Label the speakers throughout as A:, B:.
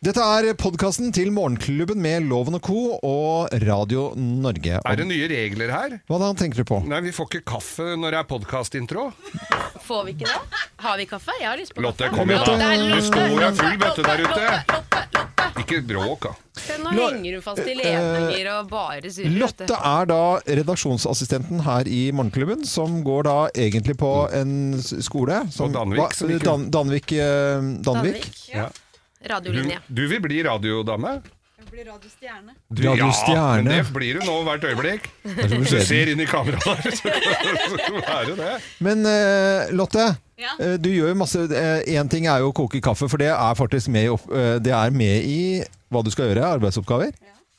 A: Dette er podkasten til Morgenklubben med Loven og Co. og Radio Norge.
B: Er det nye regler her?
A: Hva da tenker du på?
B: Nei, vi får ikke kaffe når det er podkastintro.
C: Får vi ikke det? Har vi kaffe? Jeg har lyst på
B: Lotte,
C: kaffe.
B: kom igjen, da.
C: Lotte,
B: Du står jo
C: Lotte,
B: i full bøtte der ute.
C: Lotte, Lotte, Lotte.
B: Ikke bråk, da.
C: Se, Nå
A: Lo-
C: henger hun fast i
A: Eh,
C: ledninger og bare surrer. vet
A: Lotte
C: du.
A: er da redaksjonsassistenten her i Morgenklubben, som går da egentlig på en s- skole som,
B: På Danvik,
A: hva-
B: som ikke-
A: Dan, Danvik, eh, Danvik.
C: Danvik.
B: Ja. Du,
C: Radiolinje.
B: du vil bli radiodame?
D: Blir radiostjerne.
B: Du,
A: Radio
B: ja,
A: Stjerne.
B: men det blir du nå hvert øyeblikk. Hvis du ser inn i kameraet der, så så er du det.
A: Men eh, Lotte,
D: Ja.
A: eh, du gjør jo masse Én ting er jo å koke kaffe, for det er faktisk med i, opp, eh, det er med i hva du skal gjøre. Arbeidsoppgaver.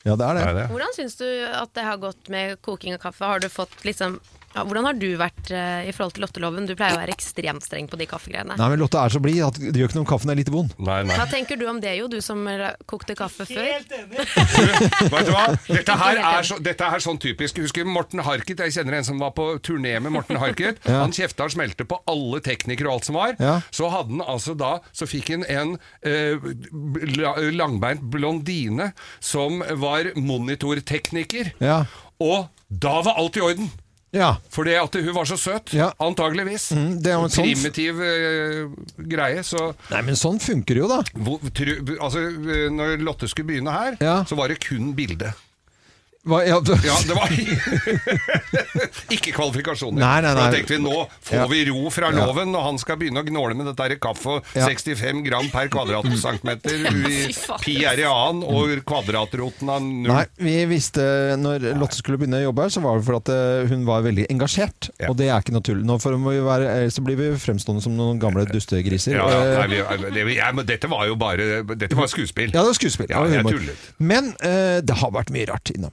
A: Ja, det er det.
B: Er det?
C: Hvordan syns du at det har gått med koking av kaffe? Har du fått liksom ja, hvordan har du vært eh, i forhold til lotteloven? Du pleier å være ekstremt streng på de kaffegreiene.
A: Nei, men Lotte er så blid at det gjør ikke noe om kaffen er litt vond.
B: Nei, nei.
C: Hva tenker du om det, jo, du som eh, kokte kaffe før?
B: Vet du hva? Dette her er, så, dette er sånn typisk. Jeg Husker Morten Harket? Jeg kjenner en som var på turné med Morten Harket. Han kjefta og smelte på alle teknikere og alt som var.
A: Ja.
B: Så hadde han altså da Så fikk han en eh, bla- langbeint blondine som var monitortekniker.
A: Ja.
B: Og da var alt i orden!
A: Ja.
B: Fordi at hun var så søt.
A: Ja.
B: Antageligvis.
A: Mm, det er jo en sånn-
B: Primitiv eh, greie. Så
A: Nei, men sånn funker det jo, da.
B: hvor, tru, altså, eh, når Lotte skulle begynne her,
A: Ja.
B: så var det kun bilde.
A: Hva, ja, du-
B: Ja, det var Ikke kvalifikasjoner.
A: Nei, nei, nei.
B: Da tenkte vi nå får
A: Ja.
B: vi ro fra
A: Ja.
B: loven når han skal begynne å gnåle med dette her kaffe og
A: Ja.
B: 65 gram per kvadratcentimeter i
C: Fy faen.
B: pi er i annen og kvadratroten av null.
A: Nei, vi visste når Lotte skulle begynne å jobbe her, så var det for at eh, hun var veldig engasjert.
B: Ja.
A: Og det er ikke naturlig. Nå får vi være, ellers så blir vi fremstående som noen gamle dustegriser.
B: Ja, ja,
A: Eh,
B: nei, vi, det, vi- ja, men dette var jo bare Dette var skuespill.
A: ja, det var skuespill.
B: Ja,
A: det var
B: jeg
A: humor.
B: tullet.
A: Men eh, det har vært mye rart innom.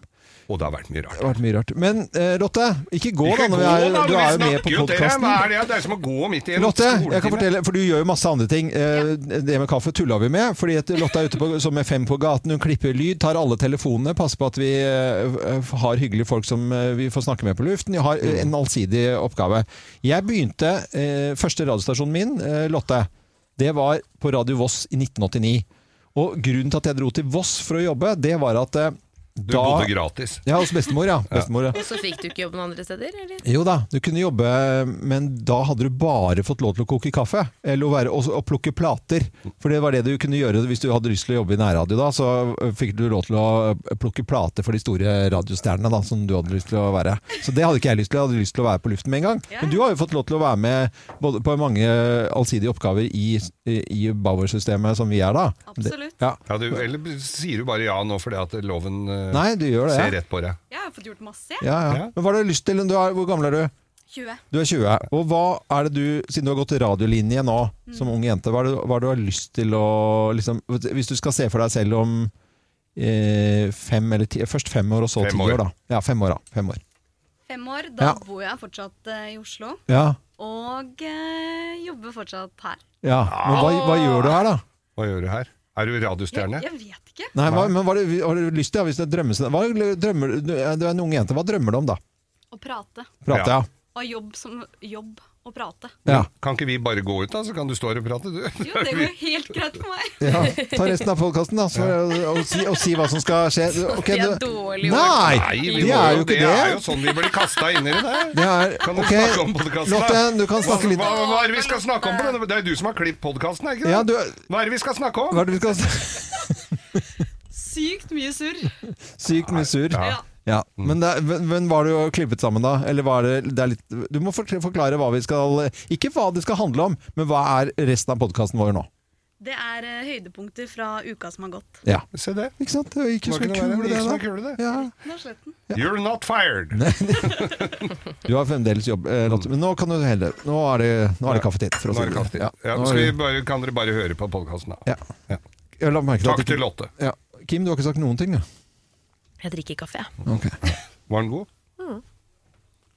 B: Og det har vært mye rart.
A: Det har vært mye rart. Men eh, Lotte, ikke gå
B: Ikke
A: da når vi
B: gå,
A: er,
B: da,
A: du er jo
B: vi
A: med
B: snakker
A: på
B: jo til dere.
A: podkasten.
B: Hva er det? Det er som å gå midt i en
A: Lotte, jeg kan
B: skoletime.
A: fortelle, for du gjør jo masse andre ting. Eh, Det med kaffe tulla vi med, fordi at Lotte er ute på, som er fem på gaten. Hun klipper lyd, tar alle telefonene, passer på at vi eh, har hyggelige folk som eh, vi får snakke med på luften. Jeg har eh, en
B: Mm.
A: allsidig oppgave. Jeg begynte eh, første radiostasjonen min, eh, Lotte, det var på Radio Voss i 1989. Og grunnen til at jeg dro til Voss for å jobbe, det var at eh,
B: Du bodde gratis.
A: ja, hos bestemor, ja. Bestemor, ja.
C: Og så fikk du ikke jobben andre steder, eller?
A: Jo da, du kunne jobbe, men da hadde du bare fått lov til å koke kaffe. Eller å, være, og, og plukke plater. For det var det du kunne gjøre hvis du hadde lyst til å jobbe i nærradio da. Så øh, fikk du lov til å øh, plukke plater for de store radiostjernene da, som du hadde lyst til å være. Så det hadde ikke jeg lyst til. Jeg hadde lyst til å være på luften med en gang. Men du har jo fått lov til å være med både på mange øh, allsidige oppgaver i, i Bauer-systemet som vi er da.
D: Absolutt.
A: Det, ja.
B: Ja, du, eller sier du bare ja nå fordi at loven eh,
A: Nei, du gjør
B: ser
A: det.
B: rett på deg?
D: Jeg har fått gjort masse. jeg.
A: Ja, ja.
B: Ja.
A: Men hva har du lyst til? Du er, hvor gammel er du?
D: 20.
A: Du er 20, og hva er det du, siden du har gått radiolinje nå som ung jente, hva er det, hva er det du har lyst til å liksom, Hvis du skal se for deg selv om eh, fem eller ti, først fem år og så
B: Fem
A: ti
B: år.
A: år, da. Ja, fem år, da. Fem år.
D: Fem år. Da
A: Ja.
D: bor jeg fortsatt eh, i Oslo.
A: Ja,
D: Og eh, jobber fortsatt her.
A: ja. Men hva, hva gjør du her, da?
B: Hva gjør du her? Er du radiostjerne?
D: Jeg, jeg vet ikke.
A: Nei, hva, men hva er det, har du lyst til, ja, hvis det er drømmesen- hva drømmer, du du er en ung jente, hva drømmer du om, da?
D: Å prate.
A: Prate, ja.
B: Ja.
D: Å ha jobb som jobb å prate.
A: ja.
B: Kan ikke vi bare gå ut, da, så kan du stå her og prate, du?
D: Jo, det går helt greit for meg.
A: Ja, ta resten av podkasten da, så, og, si, og si hva som skal skje. Ok,
C: Det er
A: du-
C: dårlig
A: Nei,
B: vi
A: det
B: må
A: er jo ikke det.
B: er jo sånn vi blir kasta inn i det der.
A: Det er,
B: Kan du
A: ok,
B: snakke om podkasten?
A: Lotte, du kan snakke litt
B: Hva, hva, hva er det vi skal snakke om? på denne- Det er jo du som har klippet podkasten, er ikke det?
A: Ja, du,
B: Hva er det vi skal snakke om?
A: hva er det vi skal
D: Sykt mye surr.
A: Sykt mye sur.
B: Ja. Mm.
A: Ja,
D: Ja.
A: men, det, er- men- men var det jo klippet sammen da? Eller var det, det er litt, du må forkl- forklare hva vi skal Ikke hva det skal handle om, men hva er resten av podkasten vår nå?
D: Det er eh, høydepunkter fra uka som har gått.
A: Ja.
B: Se det.
A: Ikke sant? Det gikk jo
B: Var
A: så
B: ikke noe verre,
A: kul
B: det gikk
A: det
B: som en
A: da.
B: kule, det.
A: Ja.
D: Nå slet den.
B: You're not fired.
A: Du har fremdeles jobb, eh, Lotte, men nå kan du heller Nå er det, nå er det kaffetid, for å
B: Nå
A: si
B: er det
A: det. sånn.
B: kaffe.
A: Ja.
B: Ja,
A: Nå
B: skal vi
A: er det-
B: bare, kan dere bare høre på podkasten, da?
A: Ja.
B: Ja.
A: Jeg la merke at
B: Takk
A: ikke-
B: til Lotte.
A: Ja. Kim, du har ikke sagt noen ting, da.
C: Jeg drikker kaffe, jeg.
A: Ok.
B: Var den god?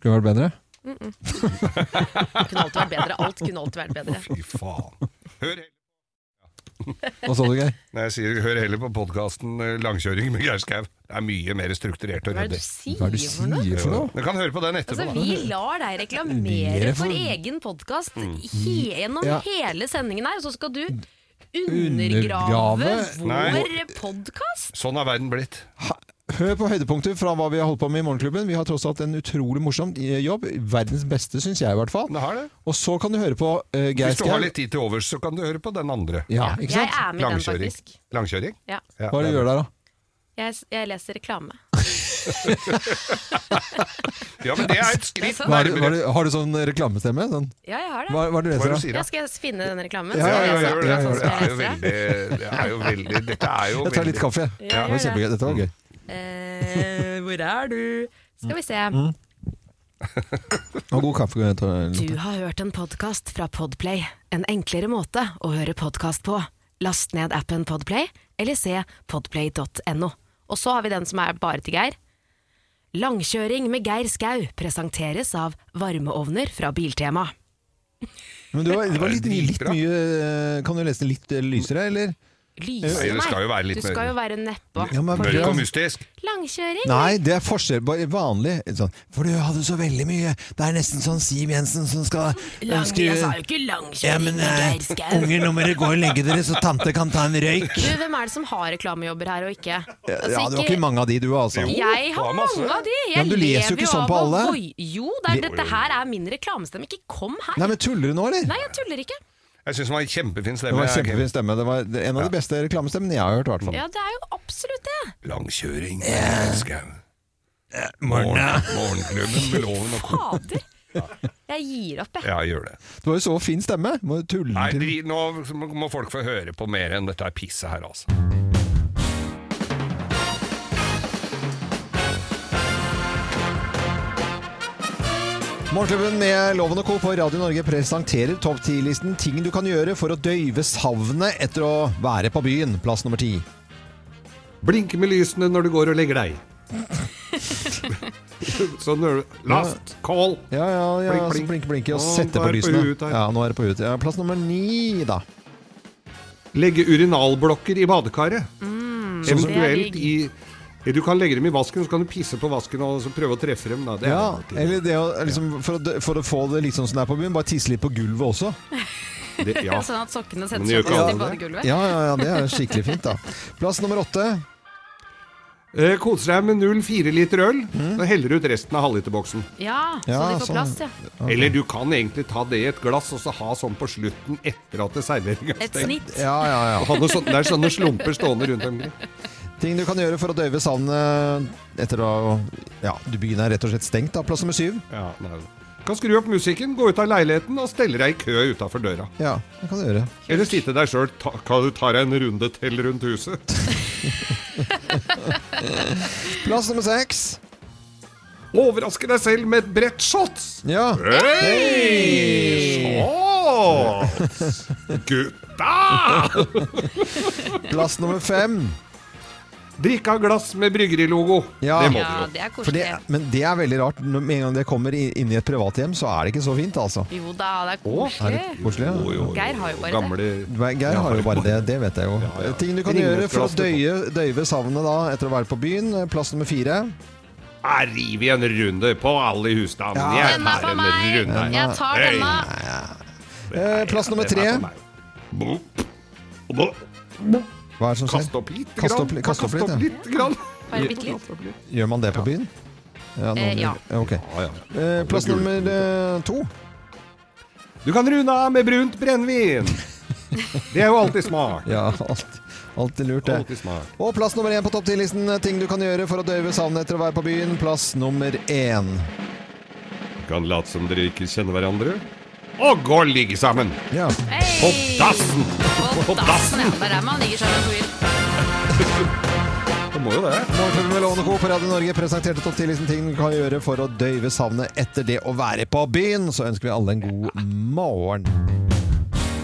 A: Kunne vært bedre?
C: Det kunne alltid vært bedre. Alt kunne alltid vært bedre.
B: Fy faen. Hør heller,
A: Hva sa du, Geir?
B: Nei, jeg sier, hør heller på podkasten 'Langkjøring med Geir Skau'. Det er mye mer strukturert og
C: Hva er det
B: ryddig.
C: du sier
A: Hva er det du
C: for noe?
A: sier for
B: Jo,
A: noe?
B: Du kan høre på den
C: Altså,
B: etterpå.
C: vi lar deg
A: Vi
C: reklamere
A: er for-
C: for egen podkast
B: Mm.
C: gjennom
A: Ja.
C: hele sendingen her, og så skal du undergrave
A: Undergrave?
B: Nei.
C: vår podkast?
B: Sånn er verden blitt.
A: Hør på høydepunkter fra hva vi har holdt på med i Morgenklubben. Vi har tross alt en utrolig morsom eh, jobb. Verdens beste, syns jeg i hvert fall.
B: Det har det.
A: Og så kan du høre på eh, Geir
B: Hvis du
A: Skau.
B: har litt tid til overs, så kan du høre på den andre.
A: Ja, ikke sant?
C: Jeg er med i den,
B: Langkjøring.
C: faktisk.
B: Langkjøring?
C: Ja.
B: Ja,
A: Hva er det du
B: det er
A: gjør der, da?
C: Jeg, jeg leser reklame.
B: bra. Ja, men det er et skritt
C: Hva
A: Hva er det, hva er
B: nærmere.
A: det, har du sånn reklamestemme? Sånn?
C: Ja, jeg har det.
A: Hva, hva er det du
B: Hva er
A: leser,
B: det du
A: da?
B: sier,
C: Jeg
B: da?
C: skal finne den reklamen.
B: Ja,
C: så
B: ja, ja,
C: skal jeg
B: ja, ja,
C: lese akkurat
B: ja,
C: sånn
B: det er jo
C: som jeg leser det.
B: veldig Det er jo veldig Dette er jo
A: Jeg tar litt
B: veldig
A: kaffe.
C: Ja,
A: Det var
C: gjør det.
A: kjempegøy. Dette var gøy.
C: Eh, hvor er du? Skal vi se.
B: Mm.
A: Og god kaffe. Lotte.
C: Du har hørt en podkast fra Podplay. En enklere måte å høre podkast på. Last ned appen Podplay, eller se podplay.no. Og så har vi den som er bare til Geir. Langkjøring med Geir Skau presenteres av varmeovner fra Biltema.
A: Men det var, det var litt, mye- litt
B: Dritbra.
A: mye eh, Kan du lese den litt eh, lysere, eller?
C: Lyser
B: Nei, det skal jo være litt
C: Du skal jo være nedpå.
A: Ja, men-
B: Mørk og mystisk.
C: Langkjøring?
A: Nei, det er forskjell. Bare vanlig. Sånn. For du hadde så veldig mye. Det er nesten sånn Siv Jensen som skal eh,
C: Lang, jeg sa jo ikke langkjøring med Geir Skau.
A: nå må dere gå og legge dere, så tante kan ta en røyk.
C: Du, hvem er det som har reklamejobber her og ikke? Altså,
A: Ja, det var ikke mange av de, du, altså.
B: Jo.
C: Jeg har
B: det er masse.
C: mange av de. Jeg
A: Ja, men du leser jo
C: lever
A: ikke sånn
C: av
A: på
C: å
A: alle.
C: voi- Jo, det er, dette her er min reklamestemme. Ikke kom her.
A: Nei, men tuller du nå, eller?
C: Nei, jeg tuller ikke.
B: Jeg syns han har en kjempefin
A: Det
B: stemme.
A: var
B: jeg, Kim.
A: kjempefin stemme. Det var en av de beste reklamestemmene jeg har hørt, i hvert fall.
C: Ja, det er jo absolutt det.
B: Langkjøring. Skau. Morgen, morgenklubben med loven og ko.
C: Fader. Jeg gir opp, jeg.
B: Ja, gjør det.
A: Det var jo så fin stemme. Må du tulle
B: Nei,
A: til
B: dri, nå må folk få høre på mer enn dette pisset her, altså.
A: Morgenklubben med Loven og Co. på Radio Norge presenterer topp 10-listen ting du kan gjøre for å døyve savnet etter å være på byen. Plass nummer ti.
E: Blink med lysene når du går og legger deg. så når du Last call!
A: Ja, ja,
E: Blink,
A: ja. Blink,
E: blink.
A: blink, blinke og
E: Å,
A: sette
E: nå
A: på
E: er det på
A: lysene.
E: huet her.
A: ja, nå er det på huet. Ja, plass nummer ni, da.
E: Legge urinalblokker i badekaret. Eventuelt
C: Mm, Det er
E: i Du kan legge dem i vasken, så kan du pisse på vasken og så prøve å treffe dem. Da. Det er
A: Ja,
E: alltid-
A: eller det å, liksom, for, å, dø- for å få det litt sånn som det er på byen, bare tisse litt på gulvet også.
E: det, ja.
C: Sånn at sokkene
E: Men
C: settes
E: det gjør
C: opp
E: ikke
C: til
E: alle det.
C: badegulvet.
A: Ja, ja, ja, det er skikkelig fint, da. Plass nummer åtte.
E: Eh, Kose deg med 0,4 liter øl,
A: Mm.
E: så heller du ut resten av halvliterboksen.
C: Ja, så
A: Ja,
C: de får
A: sånn.
C: plass, ja.
E: Eller du kan egentlig ta det i et glass og så ha sånn på slutten etter at det serveringa
C: Et snitt.
A: Ja, ja, ja.
E: Det er sånne slumper stående rundt omkring.
A: Ting du kan gjøre for å døyve savnet etter å Ja, byen er rett og slett stengt, da. Plass nummer syv.
E: Ja, nei. Kan skru opp musikken, gå ut av leiligheten og stelle deg i kø utafor døra.
A: Ja, det kan du gjøre.
E: Eller si til deg sjøl kan du ta deg en runde til rundt huset.
A: Plass nummer seks.
E: Overraske deg selv med et bredt shots!
A: Ja.
E: Hei! Shots! Gutta!
A: Plass nummer fem.
E: Drikke av glass med bryggerilogo.
A: Ja.
E: Det må
C: Ja,
E: du jo.
C: det er
A: For det,
C: koselig.
A: men det er veldig rart. Når- Med en gang det kommer i- inn i et privathjem, så er det ikke så fint, altså.
C: Jo da, det er
A: Er det
C: koselig.
E: Jo,
A: koselig? Ja?
E: jo, jo,
C: Geir har jo bare det.
E: Gamle
A: Geir har jo bare det, det vet jeg jo.
E: Ja, ja.
A: Ting du kan gjøre for å døye, døyve savnet da etter å være på byen. Eh, Plass nummer fire.
E: Her river jeg en runde på alle i husstanden.
A: Ja.
E: Jeg
C: Den er
E: tar
C: for
E: en
C: meg!
E: runde.
C: Jeg tar
E: Hei.
C: denne.
A: Eh, plass nummer
E: Den er sånn for
A: tre.
E: meg. Bop. Bop.
A: Hva er det som
E: Kast
A: skjer?
E: opp litt.
A: Kast opp
E: grann.
A: litt- kast opp litt, ja.
E: litt grann.
C: Bare bitte litt.
A: Gjør man det på byen? Ja.
C: Eh, ja.
A: nå- ok.
E: Ja, ja.
A: Eh, plass nummer eh, to.
E: Du kan runde av med brunt brennevin. Det er jo alltid smart.
A: Ja, alt, alltid lurt, det.
E: Alltid smart.
A: Og plass nummer én på topp 10-listen. Ting du kan gjøre for å døyve savnet etter å være på byen. Plass nummer én.
E: Du kan late som dere ikke kjenner hverandre. Og gå og ligge sammen.
A: Ja.
E: På
C: Hei!
E: dassen!
C: På dassen, ja. Det er der man ligger sammen på byen.
E: Det må jo det.
A: Morgenklubben med Lovende Co. på Radio Norge presenterte topp 10-listen ting du kan gjøre for å døyve savnet etter det å være på byen. Så ønsker vi alle en god morgen.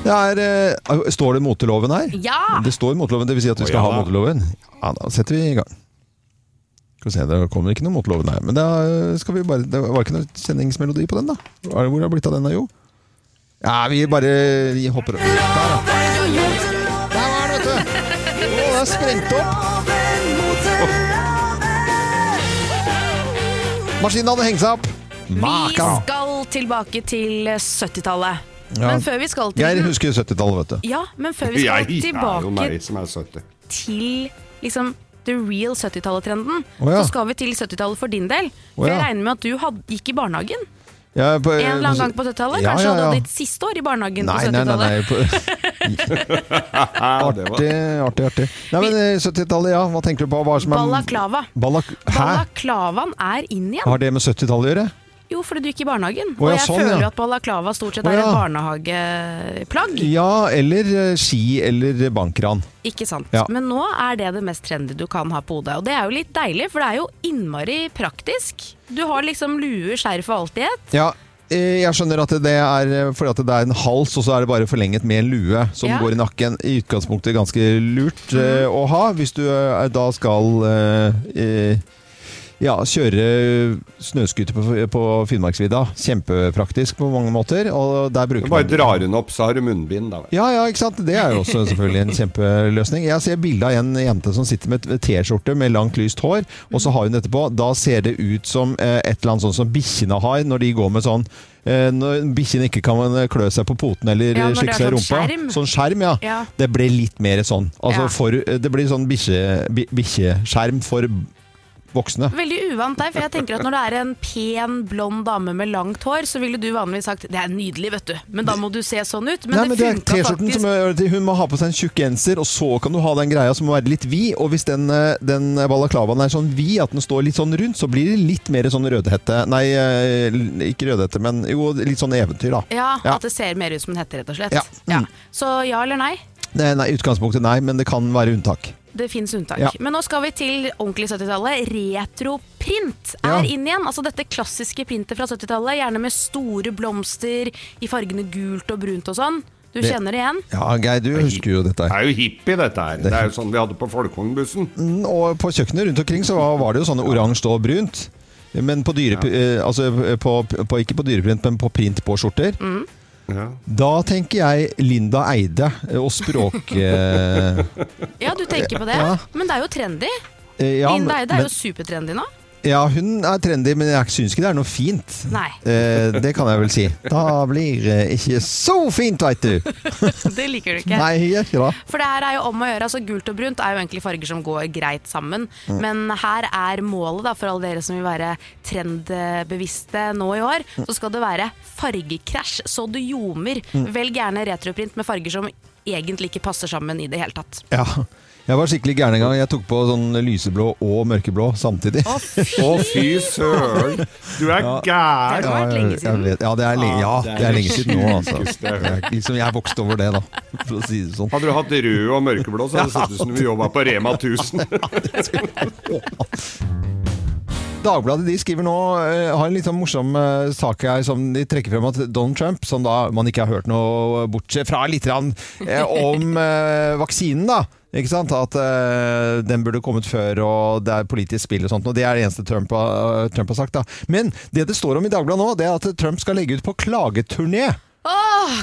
A: Det er, eh, står det moteloven her?
C: Ja!
A: Det står moteloven, det vil si at vi
E: Å,
A: skal
E: ja
A: ha
E: da.
A: moteloven. Ja, da setter vi i gang. Skal vi se, Det kommer ikke noe moteloven her. Men da eh, skal vi bare, det var ikke noe kjenningsmelodi på den, da. Hva er det- Hvor har det blitt av den, da, jo? Ja, vi bare vi hopper over. Der, da. Der var den, vet du! Å, det er sprengt opp! Maskinen hadde hengt seg opp.
C: Vi
A: Maka!
C: skal tilbake til 70-tallet.
A: Ja.
C: Men før vi skal til
A: Geir husker 70-tallet, vet du.
C: Ja, men før vi skal
E: Jeg er jo
C: tilbake
E: meg som er 70.
C: til liksom the real 70-tallet-trenden,
A: Å, ja.
C: så skal vi til 70-tallet for din del. For
A: Å, ja.
C: jeg regner med at du had, gikk i barnehagen
A: Ja, på-
C: en eller annen gang på 70-tallet.
A: Ja,
C: Kanskje
A: ja, ja.
C: hadde du ditt siste år i barnehagen
A: Nei, nei,
C: på
A: nei.
C: 70-tallet.
A: nei. På...
E: Ja, det var
A: Artig, artig, artig. Nei, men eh, 70-tallet, ja. Hva tenker du på? Hva er som er
C: Balaklava.
A: Ballak... Hæ?
C: Balaklavaen er inn igjen.
A: Har det med 70-tallet å gjøre?
C: Jo, fordi du gikk i barnehagen.
A: Å, ja,
C: og jeg
A: sånn,
C: føler
A: ja.
C: at balaklava stort sett
A: Å,
C: er et
A: ja.
C: barnehageplagg.
A: Ja, eller eh, ski eller bankran.
C: Ikke sant.
A: Ja.
C: Men nå er det det mest trendy du kan ha på hodet. Og det er jo litt deilig, for det er jo innmari praktisk. Du har liksom lue, skjerf og alt i ett.
A: Ja, eh, jeg skjønner at det er eh, fordi at det er en hals, og så er det bare forlenget med en lue som
C: Ja.
A: går i nakken. I utgangspunktet ganske lurt eh, å ha, hvis du eh, da skal eh, eh, ja, kjøre snøskuter på, på Finnmarksvidda. Kjempepraktisk på mange måter. Og der
E: Du
A: bruker
E: bare
A: man-
E: drar hun opp, så har du munnbind. da. vet du.
A: Ja, ja, ikke sant? Det er jo også selvfølgelig en kjempeløsning. Jeg ser bilde av en jente som sitter med et T-skjorte med langt, lyst hår, og så har hun dette på. Da ser det ut som eh, et eller annet sånn som bikkjene har når de går med sånn eh, Når bikkjene ikke kan eh, klø seg på poten eller
C: Ja, når det
A: slikke
C: er
A: seg i
C: sånn
A: rumpa.
C: skjerm.
A: Sånn skjerm, ja.
C: Ja.
A: Det ble litt mer sånn. Altså
C: Ja.
A: for, det blir sånn bikkje- bi- bikkjeskjerm for voksne.
C: Veldig uvant der, for jeg tenker at når det er en pen, blond dame med langt hår, så ville du vanligvis sagt 'det er nydelig, vet du', men da må du se sånn ut. Men
A: Nei, men det er
C: funka
A: T-skjorten
C: faktisk.
A: som gjør at Hun må ha på seg en tjukk genser, og så kan du ha den greia som må være litt vid. Og hvis den, eh, den balaklavaen er sånn vid, at den står litt sånn rundt, så blir det litt mer sånn rødhette Nei, eh, ikke rødhette, men jo, litt sånn eventyr, da.
C: Ja,
A: Ja.
C: At det ser mer ut som en hette, rett og slett.
A: Ja.
C: Ja.
A: Mm.
C: Så ja eller nei?
A: Nei, nei, i utgangspunktet nei, men det kan være unntak.
C: Det fins unntak.
A: Ja.
C: Men nå skal vi til ordentlig 70-tallet. Retroprint
A: Ja.
C: er inn igjen. Altså dette klassiske printet fra 70-tallet. Gjerne med store blomster i fargene gult og brunt og sånn. Du
A: Det-
C: kjenner det igjen?
A: Ja, Geir, du husker jo dette.
E: Det
A: her.
E: er jo hippie, dette her. Det er jo sånn vi hadde på Folkongbussen.
A: Mm, Og på kjøkkenet rundt omkring så var- var det jo sånn oransje og brunt. Men på dyre... eh, Altså, på, på, ikke på dyreprint, men på print på skjorter.
C: Mm.
E: Ja.
A: Da tenker jeg Linda Eide eh, og språk... eh,
C: Ja, du tenker på det.
A: Ja.
C: Men det er jo trendy.
A: Eh, Ja, men-
C: Linda Eide er
A: men-
C: jo supertrendy nå.
A: ja, hun er trendy, men jeg syns ikke det er noe fint.
C: Nei.
A: Eh, det kan jeg vel si. Da blir det ikke så fint, veit du.
C: Det liker du ikke.
A: Nei, gjør ikke det.
C: For det her er jo om å gjøre. altså Gult og brunt er jo egentlig farger som går greit sammen. Men her er målet da, for alle dere som vil være trendbevisste nå i år. Så skal det være fargekrasj så du ljomer. Velg gjerne retroprint med farger som egentlig ikke passer sammen i det hele tatt.
A: Ja. Jeg var skikkelig gæren en gang. Jeg tok på sånn lyseblå og mørkeblå samtidig.
E: Å, fy søren! Du er gæren!
C: Det har vært lenge
A: jeg-
C: siden.
A: Jeg vet, ja, det er, lenge, ja, det er lenge siden nå, altså.
E: sjukeste jeg har
A: Det er Liksom, jeg vokste over det, da, for å si det sånn.
E: Hadde du hatt rød og mørkeblå, så hadde det sett ut som du jobba på Rema 1000.
A: Dagbladet de skriver nå eh, har en litt sånn morsom eh, sak her som de trekker frem at Donald Trump, som da man ikke har hørt noe bortsett fra litt grann, eh, om eh, vaksinen, da. Ikke sant? At eh, den burde kommet før, og det er politisk spill og sånt. Og det er det eneste Trump har, Trump har sagt. da. Men det det står om i Dagbladet nå, det er at Trump skal legge ut på klageturné.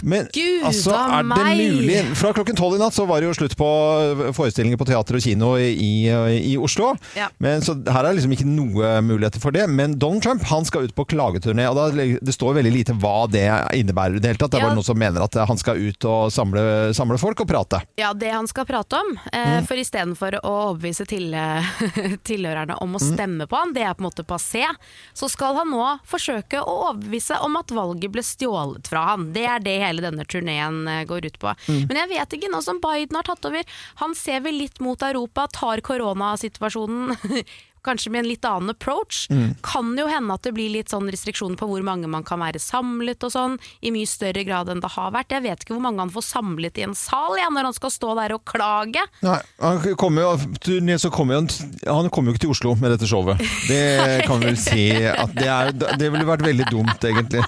A: Men
C: Gud
A: altså,
C: a
A: er det
C: meg!
A: mulig? Fra klokken tolv i natt så var det jo slutt på eh, forestillinger på teater og kino i, eh, i Oslo.
C: Ja.
A: Men, så her er liksom ikke noe muligheter for det. Men Donald Trump han skal ut på klageturné, og da, leg- det står veldig lite hva det innebærer. i Det hele tatt. Det er
C: Ja.
A: bare noen som mener at eh, han skal ut og samle, samle folk og prate.
C: Ja, det han skal prate om. Eh, for istedenfor å overbevise til, tilhørerne om å stemme på han, det er på en måte passé, så skal han nå forsøke å overbevise om at valget ble stjålet fra han. Det er det hele denne turneen eh, går ut på. Men jeg vet ikke, nå som Biden har tatt over, han ser vel litt mot Europa, tar koronasituasjonen kanskje med en litt annen approach.
A: Mm.
C: Kan jo hende at det blir litt sånn restriksjoner på hvor mange man kan være samlet og sånn, i mye større grad enn det har vært. Jeg vet ikke hvor mange han får samlet i en sal ja, når han skal stå der og klage.
A: Nei, han kommer jo, turné, så kommer jo han, han kommer jo ikke til Oslo med dette showet. Det kan vi vel si at det, er, det ville vært veldig dumt, egentlig.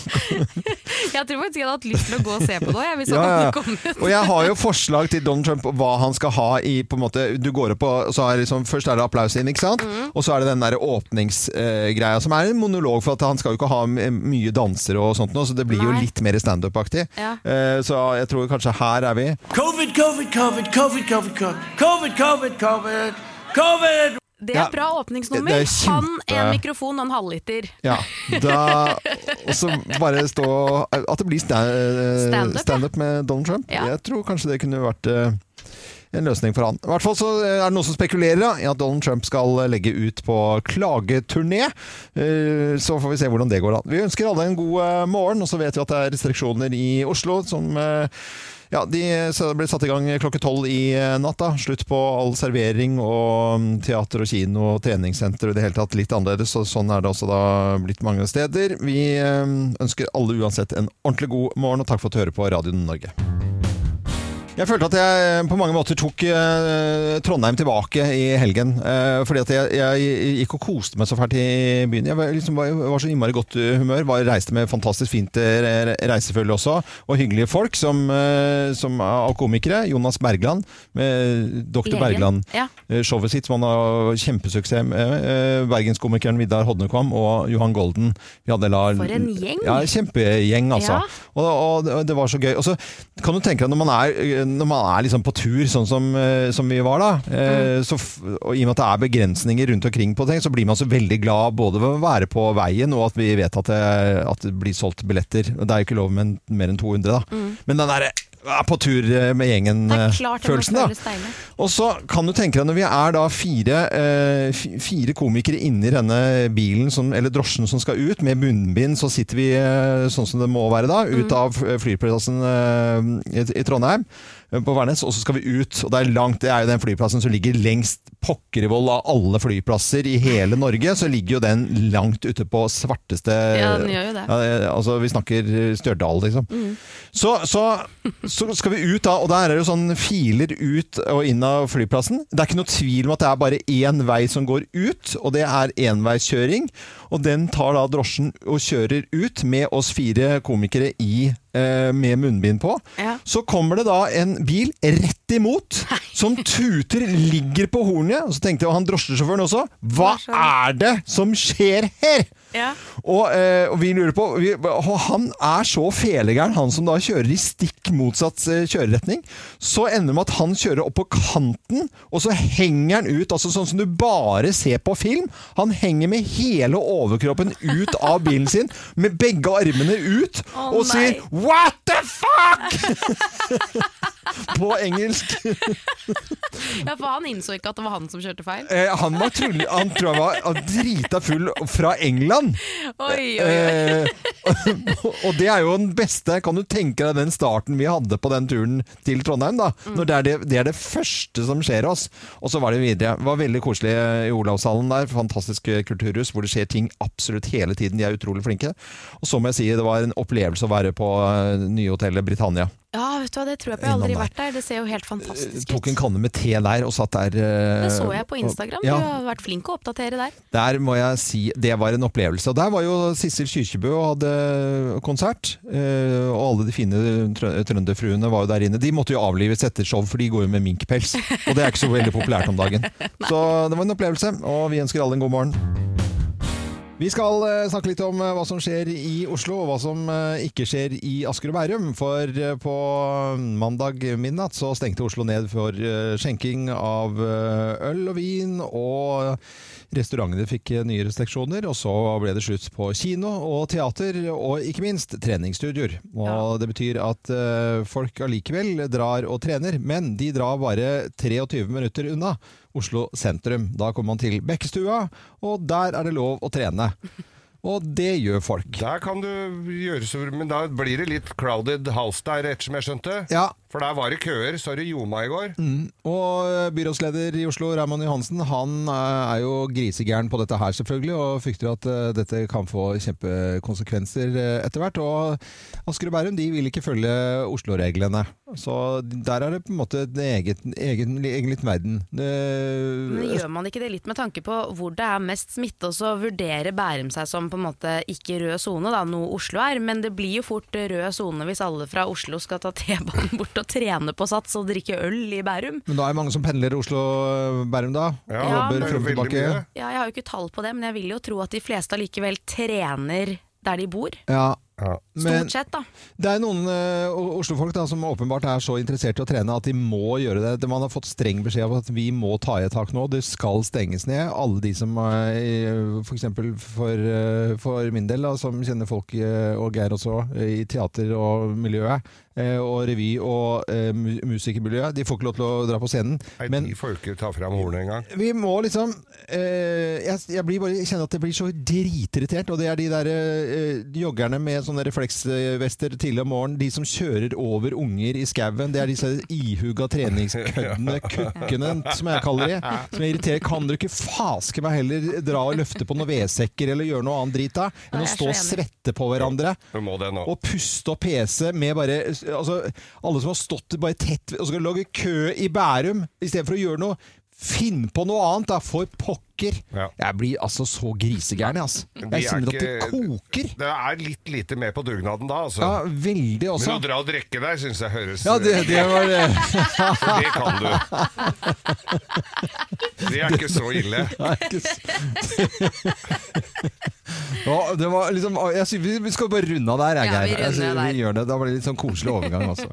C: Jeg tror faktisk jeg hadde hatt lyst til å gå og se på det òg, jeg, hvis
A: Ja,
C: han
A: ja,
C: hadde
A: ja.
C: kommet.
A: Og jeg har jo forslag til Donald Trump og hva han skal ha i på en måte, Du går opp og så er liksom, Først er det applaus inn, ikke sant?
C: Mm.
A: Og så er det den der åpningsgreia, som er en monolog, for at han skal jo ikke ha m- eh, mye dansere og sånt nå, så det blir jo
C: Nei.
A: litt mer standup-aktig.
C: Ja.
A: Eh, så jeg tror kanskje her er vi.
F: COVID, COVID, COVID, COVID, COVID, COVID, COVID, COVID, COVID, COVID.
C: Det
A: Ja,
C: er bra åpningsnummer.
A: det- det er
C: Han,
A: kjempe-
C: en mikrofon og en halvliter.
A: Ja. Da, og så bare stå At det blir
C: Standup,
A: sta- eh,
C: ja.
A: standup med Donald Trump.
C: Ja.
A: Jeg tror kanskje det kunne vært eh, en løsning for han. I hvert fall så eh, er det noen som spekulerer da, i at Donald Trump skal eh, legge ut på klageturné. Eh, Så får vi se hvordan det går an. Vi ønsker alle en god eh, morgen, og så vet vi at det er restriksjoner i Oslo som eh, ja, De så det ble satt i gang klokke tolv i eh, natt. da. Slutt på all servering og mm, teater og kino og treningssenter og i det hele tatt litt annerledes. og Sånn er det også da blitt mange steder. Vi eh, ønsker alle uansett en ordentlig god morgen, og takk for at du hører på Radio Norge. Jeg følte at jeg på mange måter tok eh, Trondheim tilbake i helgen. eh, fordi at jeg, jeg gikk og koste meg så fælt i byen. Jeg var, liksom, var, var så innmari godt humør. Var, reiste med fantastisk fint eh, reisefølge også, og hyggelige folk som, eh, som av komikere. Jonas Bergland med Dr. Bergland
C: Ja.
A: eh, showet sitt, som han har kjempesuksess med. Eh, Bergenskomikeren Vidar Hodnekvam og Johan Golden. Vi hadde la,
C: For en gjeng!
A: Ja, kjempegjeng, altså.
C: Ja.
A: Og, og det- det var så gøy. Og så kan du tenke deg når man er, når man er liksom på tur, sånn som, eh, som vi var da, eh,
C: Mm.
A: så, f- og i og med at det er begrensninger rundt omkring på ting, så blir man så veldig glad både ved å være på veien, og at vi vet at det, at det blir solgt billetter. Det er jo ikke lov med en- mer enn 200, da. Men den derre er på tur eh, med
C: Mm. Det er klart det må
A: gjengen-følelsen, da.
C: føles deilig.
A: Og så kan du tenke deg når vi er da fire, eh, fi- fire komikere inni denne bilen, som, eller drosjen som skal ut, med munnbind, så sitter vi eh, sånn som det må være da,
C: Mm.
A: ut av eh, flyplassen eh, i, i Trondheim, eh, på Værnes, og så skal vi ut. Og det er langt, det er jo den flyplassen som ligger lengst pokkerivoll av alle flyplasser i hele Norge, så ligger jo den langt ute på svarteste
C: Ja, den gjør jo det. Mm.
A: Ja, det- altså, vi snakker eh, Stjørdal, liksom. Så, så, så skal vi ut da, og der er det jo sånn filer ut og inn av flyplassen. Det er ikke noe tvil om at det er bare én vei som går ut, og det er enveiskjøring. Og den tar da drosjen og kjører ut med oss fire komikere i, eh, med munnbind på.
C: Ja.
A: Så kommer det da en bil rett imot, som tuter, ligger på hornet. Og så tenkte jeg, og han drosjesjåføren også, hva er det som skjer her?
D: Ja.
A: Og, eh, og vi lurer på vi, og Han er så felegæren, han som da kjører i stikk motsatt eh, kjøreretning. Så ender det med at han kjører opp på kanten, og så henger han ut, altså sånn som du bare ser på film. Han henger med hele overkroppen ut av bilen sin, med begge armene ut,
D: Å,
A: og
D: nei.
A: sier 'what the fuck'! på engelsk.
C: Ja, for han innså ikke at det var han som kjørte feil.
A: Eh, han var trull, han tror jeg var han drita full fra England.
C: Oi, oi, oi.
A: Eh, og det er jo den beste Kan du tenke deg den starten vi hadde på den turen til Trondheim, da?
C: Mm.
A: Når det er det, det er det første som skjer oss. Og så var det videre. Det var veldig koselig eh, i Olavshallen der. Fantastisk eh, kulturhus hvor det skjer ting absolutt hele tiden. De er utrolig flinke. Og så må jeg si det var en opplevelse å være på eh, nye hotellet Britannia.
C: Ja, vet du hva, det tror jeg på. Jeg har aldri
A: Innom der. Eh,
C: vært der. Det ser jo helt fantastisk
A: Tok en
C: ut.
A: kanne med te der og satt der. eh,
C: Det så jeg på Instagram. Du
A: Ja.
C: har vært flink å oppdatere der.
A: Der må jeg si, det var en opplevelse. Og der var jo Sissel Kyrkjebø og hadde konsert. eh, Og alle de fine trø- trønderfruene var jo der inne. De måtte jo avlives etter show, for de går jo med minkpels. Og det er ikke så veldig populært om dagen. Så det var en opplevelse, og vi ønsker alle en god morgen. Vi skal eh, snakke litt om eh, hva som skjer i Oslo, og hva som eh, ikke skjer i Asker og Bærum. For eh, på mandag midnatt så stengte Oslo ned for eh, skjenking av eh, øl og vin, og restaurantene fikk eh, nye restriksjoner. Og så ble det slutt på kino og teater, og ikke minst treningsstudioer. Og det betyr at eh, folk allikevel drar og trener, men de drar bare 23 minutter unna. Oslo sentrum. Da kommer man til Bekkestua, og der er det lov å trene. Og det gjør folk.
B: Der kan du gjøre så, Men da blir det litt crowded house der, etter som jeg skjønte.
A: Ja, Mm.
B: For der var det køer. Så det ljoma i går.
A: Og eh, byrådsleder i Oslo, Raymond Johansen, han eh, er jo grisegæren på dette her selvfølgelig, og frykter at eh, dette kan få kjempekonsekvenser eh, etter hvert. Og Asker og Bærum de vil ikke følge Oslo-reglene. Så der er det på en måte en egen, egen, egen liten verden.
C: Men
A: Det,
C: gjør man ikke det litt med tanke på hvor det er mest smitte, og så vurderer Bærum seg som på en måte ikke rød sone, da, noe Oslo er, men det blir jo fort rød sone hvis alle fra Oslo skal ta T-banen bort og trene på Sats og drikke øl i Bærum.
A: men da er det mange som pendler Oslo-Bærum da? og
C: Ja,
A: jobber
C: det
A: frem
C: er
A: og
B: veldig
A: tilbake.
B: mye.
C: Ja, jeg har jo ikke tall på det, men jeg vil jo tro at de fleste allikevel trener der de bor.
A: Ja,
B: Ja.
A: men-
C: Stort sett, da.
A: Det er noen eh, o- Oslo-folk da, som åpenbart er så interessert i å trene at de må gjøre det. Det- Man har fått streng beskjed om at vi må ta i et tak nå. Det skal stenges ned. Alle de som f.eks. For, eksempel for, eh, for min del, da, som kjenner folk, eh, og Geir også, eh, i teater og miljøet, eh, og revy og eh, mu- musikermiljøet, de får ikke lov til å dra på scenen.
B: Nei,
A: Men
B: de får jo ikke ta fram hornet engang.
A: vi må liksom eh, jeg, jeg, blir bare, jeg kjenner at jeg blir så dritirritert. Og det er de der eh, joggerne med sånne refleksvester tidlig om morgenen. De som kjører over unger i skauen. Det er disse ihuga treningskøddene, kukkene, som jeg kaller de. Som jeg irriterer. Kan dere ikke faske meg heller dra og løfte på noen vedsekker eller gjøre noe annet drit da, enn
C: Nei,
A: å
C: jeg er
A: stå og
C: så
A: svette på hverandre?
B: Du må det nå.
A: Og puste og pese med bare altså, Alle som har stått bare tett og skal lage kø i Bærum istedenfor å gjøre noe. Finn på noe annet, da! For pokker!
B: Ja.
A: Jeg blir altså så grisegæren, jeg, altså.
B: De
A: Jeg
B: er
A: kjenner at det
B: ikke-
A: koker.
B: Det er litt lite med på dugnaden da, altså.
A: Ja, veldig også.
B: Men å dra og drikke der syns jeg høres
A: Ja, det, det var eh, det.
B: det kan du. Det er ikke så ille.
A: Nei, ikke s- ja, det var liksom, jeg synes vi- vi skal bare runde av der, jeg,
C: Ja, vi
A: Geir. Jeg
C: runder
A: synes
C: der.
A: vi gjør det. Da ble det litt sånn koselig overgang, altså.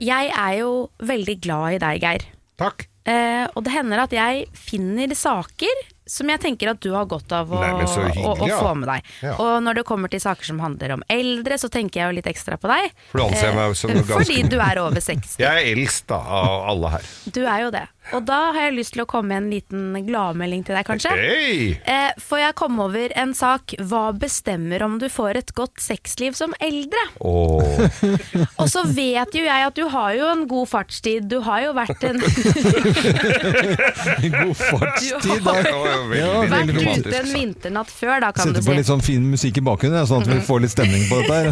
C: Jeg er jo veldig glad i deg, Geir.
B: Takk.
C: Eh, og det hender at jeg finner saker som jeg tenker at du har godt av å,
B: Nei, men så hyggelig,
C: å, å
B: ja.
C: få med deg.
B: Ja.
C: Og når det kommer til saker som handler om eldre, så tenker jeg jo litt ekstra på deg.
B: For du anser meg som
A: Eh,
B: ganske-
C: Fordi du er over 60.
B: Jeg er eldst da, av alle her.
C: Du er jo det. Og da har jeg lyst til å komme med en liten gladmelding til deg, kanskje.
B: Hei!
C: Eh, for jeg kom over en sak 'Hva bestemmer om du får et godt sexliv som eldre?'
B: Åh.
C: Og så vet jo jeg at du har jo en god fartstid. Du har jo vært en
A: God fartstid. da.
B: Det var jo veldig
A: Ja,
C: vært
A: veldig
C: ute
B: diplomatisk.
C: en vinternatt før, da, kan
A: Sette
C: du
A: på
C: si.
A: litt sånn fin musikk i bakgrunnen, ja, sånn at vi får litt stemning på dette her.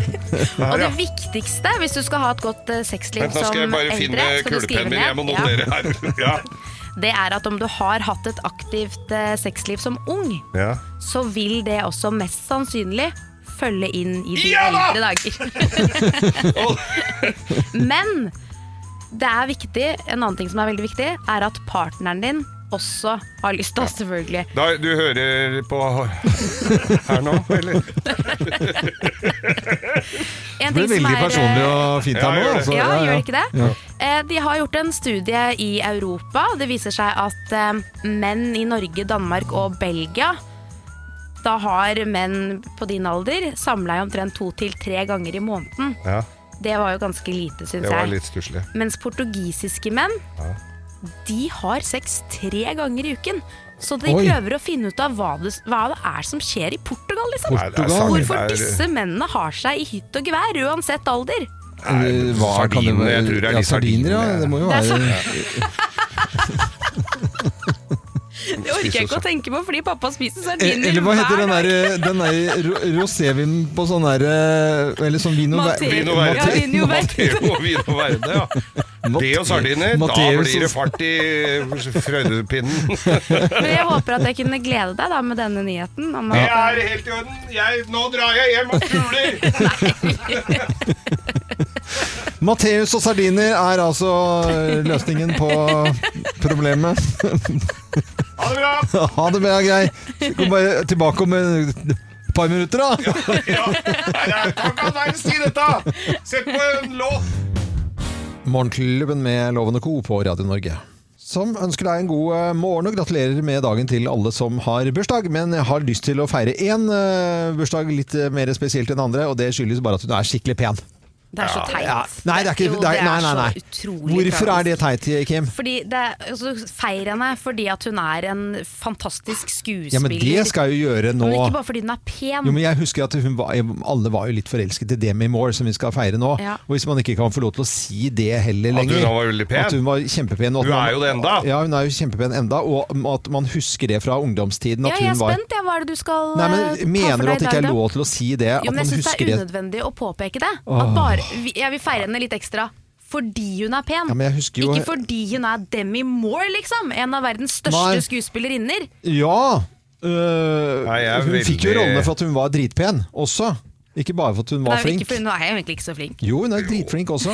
C: Og det viktigste hvis du skal ha et godt eh, sexliv
B: Vent, nå
C: som
B: skal jeg
C: eldre,
B: bare finne
C: skal du skrive
B: kulepennen min. Jeg må
C: ned, ja,
B: notere her. Ja.
C: det er at om du har hatt et aktivt eh, sexliv som ung,
B: Ja.
C: så vil det også mest sannsynlig følge inn i de
B: Ja da!
C: eldre dager. Men det er viktig, en annen ting som er veldig viktig, er at partneren din også har lyst til å selvfølgelig
B: Da, du hører på her nå, eller?
C: En
A: Det
C: ting
A: blir veldig
C: som er, eh,
A: personlig og fint her
B: Ja,
A: nå.
B: gjør det.
A: altså.
C: ja, gjør det ikke det? Eh, De har gjort en studie i Europa. og Det viser seg at eh, menn i Norge, Danmark og Belgia Da har menn på din alder samleie omtrent to til tre ganger i måneden.
B: Ja,
C: Det var jo ganske lite, syns
B: det var
C: jeg.
B: litt stusslig.
C: Mens portugisiske menn de har sex tre ganger i uken. Så de
A: Oi.
C: prøver å finne ut av hva det, hva det er som skjer i Portugal, liksom.
B: Nei, det er
A: Portugal?
B: sant, det
C: Hvorfor
B: er-
C: disse mennene har seg i hytt og gevær, uansett alder.
A: Eller Eh, hva kan det
B: sardiner,
A: være?
B: jeg tror det er
A: ja,
B: de
A: sardiner. Ja,
B: sardinene.
A: det må jo
C: Det er
A: være
C: Det orker jeg ikke å tenke på, fordi pappa spiser sardiner
A: Eh, Eller hva heter den
C: hver dag.
A: der, eh, den der ro- rosévinen på sånn der eh, Eller sånn vin og
C: Mate-
A: vin-
B: Vin og
C: Ja,
B: verde.
C: vin og verde.
B: Matteo og vin og verde, ja.
A: Mate-
B: Det og sardiner, da
A: Mateus
B: blir det
A: og-
B: fart i frøydepinnen.
C: Men jeg håper at jeg kunne glede deg da med denne nyheten. Om
B: Det
C: at,
B: er helt i orden. Jeg, nå drar jeg hjem og kuler!
A: Mateus og sardiner er altså eh, løsningen på problemet.
B: Ha det bra!
A: Ha det bra, Geir. Kom bare tilbake om eh, et par minutter, da.
B: Ja. Nei, det er- kan ikke være si dette! Sett på en låt!
A: Morgenklubben med Lovende Co. på Radio Norge. Som ønsker deg en god eh, morgen og gratulerer med dagen til alle som har bursdag, men har lyst til å feire én eh, bursdag litt eh, mer spesielt enn andre, og det skyldes bare at hun er skikkelig pen.
C: Det er så teit.
A: Ja. Nei, det er ikke
C: jo,
A: det er, Nei, nei, nei.
C: så utrolig
A: Hvorfor er det
C: tragisk.
A: teit, Kim?
C: Fordi det, er- altså, Feir henne fordi at hun er en fantastisk skuespiller.
A: Ja, men det skal jeg jo gjøre nå.
C: Men ikke bare fordi hun er pen.
A: Jo, men jeg husker at hun var, alle var jo litt forelsket i Demi Moore, som vi skal feire nå.
C: Ja.
A: Og hvis man ikke kan få lov til å si det heller
B: At hun
A: lenger
B: da var veldig pen.
A: At hun var kjempepen. og at
B: Hun
A: man-
B: er jo det enda.
A: Ja, hun er jo kjempepen enda, og at man husker det fra ungdomstiden.
C: ja,
A: At
C: jeg er
A: hun var
C: spent. Ja, hva er det du skal
A: Nei,
C: eh, ta
A: men Mener
C: for
A: du at det
C: deg i
A: ikke er
C: dag, da?
A: lov til å si det?
C: Jo,
A: at
C: men
A: man
C: jeg syns
A: husker
C: det er
A: det?
C: unødvendig å påpeke det. At bare, vi, jeg vil feire henne litt ekstra. Fordi hun er pen,
A: Ja, men jeg husker jo-
C: ikke fordi hun er Demi Moore, liksom! En av verdens største
A: Nei.
C: skuespillerinner.
A: Ja! øh,
B: Nei, jeg er
A: hun fikk jo
B: veldig-
A: rollene for at hun var dritpen også. Ikke bare for at hun var
C: Nei,
A: flink.
C: Ikke, for hun er jo egentlig ikke så flink.
A: Jo, hun er dritflink også.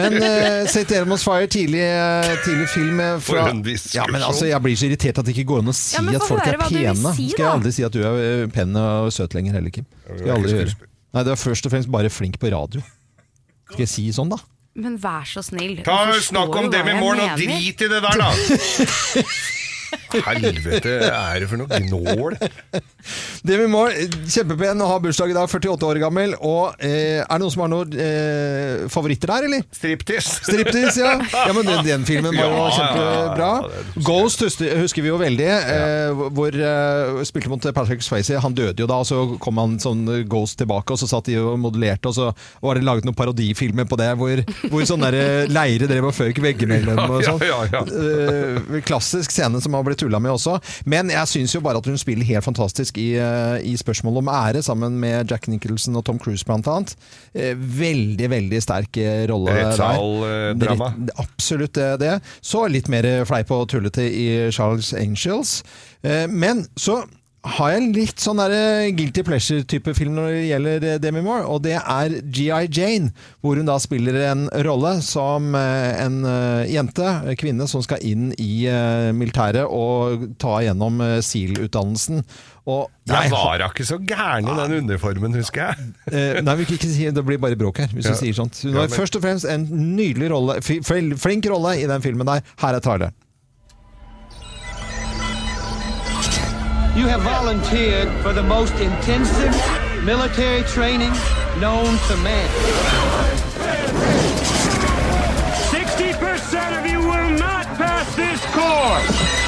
A: Men uh, St. Elmo's Fire, tidlig, eh, tidlig film eh, fra
B: For en diskusjon.
A: Ja, men altså, Jeg blir så irritert at det ikke går an å si
C: Ja, men
A: at
C: få
A: folk er
C: høre hva du vil
A: pene.
C: si,
A: Skal jeg
C: da.
A: aldri si at du er eh, pen og søt lenger heller, Kim. Skal jeg aldri
B: ikke
A: gjøre.
B: skuespiller.
A: Nei, du er først og fremst bare flink på radio. Skal jeg si sånn, da?
C: Men vær så snill.
B: Ta
C: du forstår
B: Snakk om
C: jo
B: det
C: hva
B: med
C: jeg
B: morgen, og
C: mener.
B: drit i det der, da! Helvete, er det for noe gnål?
A: Demi Moore, eh, kjempepen, har bursdag i dag, 48 år gammel. Og eh, er det noen som har noen eh, favoritter der, eller?
B: Striptease.
A: Striptease, ja. ja men den, den filmen var jo
B: Ja, ja,
A: kjempebra.
B: ja, det husker jeg.
A: Ghost husker, husker vi jo veldig, eh, hvor eh, spilte mot Patrick Swayze. Han døde jo da, og så kom han sånn Ghost tilbake, og så satt de og modellerte, og så var det laget noen parodifilmer på det, hvor, hvor sånne der eh, leire drev og føk veggimellom og
B: Ja,
A: sånn.
B: ja, ja,
A: Eh, klassisk scene som har blitt tulla med også. Men jeg syns jo bare at hun spiller helt fantastisk i, eh, i spørsmålet om ære, sammen med Jack Nicholson og Tom Cruise blant annet. Eh, veldig, veldig sterk eh, rolle
B: Rettssal, eh,
A: der.
B: drama.
A: Rett- Absolutt det. det. Så litt mer fleip og tullete i Charles Angels. Eh, Men så har jeg en litt sånn der eh, guilty pleasure-type film når det gjelder eh, Demi Moore, og det er G.I. Jane, hvor hun da spiller en rolle som eh, en eh, jente, eh, kvinne, som skal inn i eh, militæret og ta gjennom eh, SEAL-utdannelsen. Og
B: Jeg
A: jeg-
B: var da ikke så gæren i den uniformen, husker jeg.
A: Eh, nei, vi kan ikke si, det blir bare bråk her, hvis
B: Ja.
A: du sier sånt. Hun
B: Ja,
A: har
B: men-
A: først og fremst en nydelig rolle, fi- fel- flink rolle i den filmen der. Her er traileren.
G: You have volunteered for the most intensive military training known to man.
H: 60% of you will not pass this course.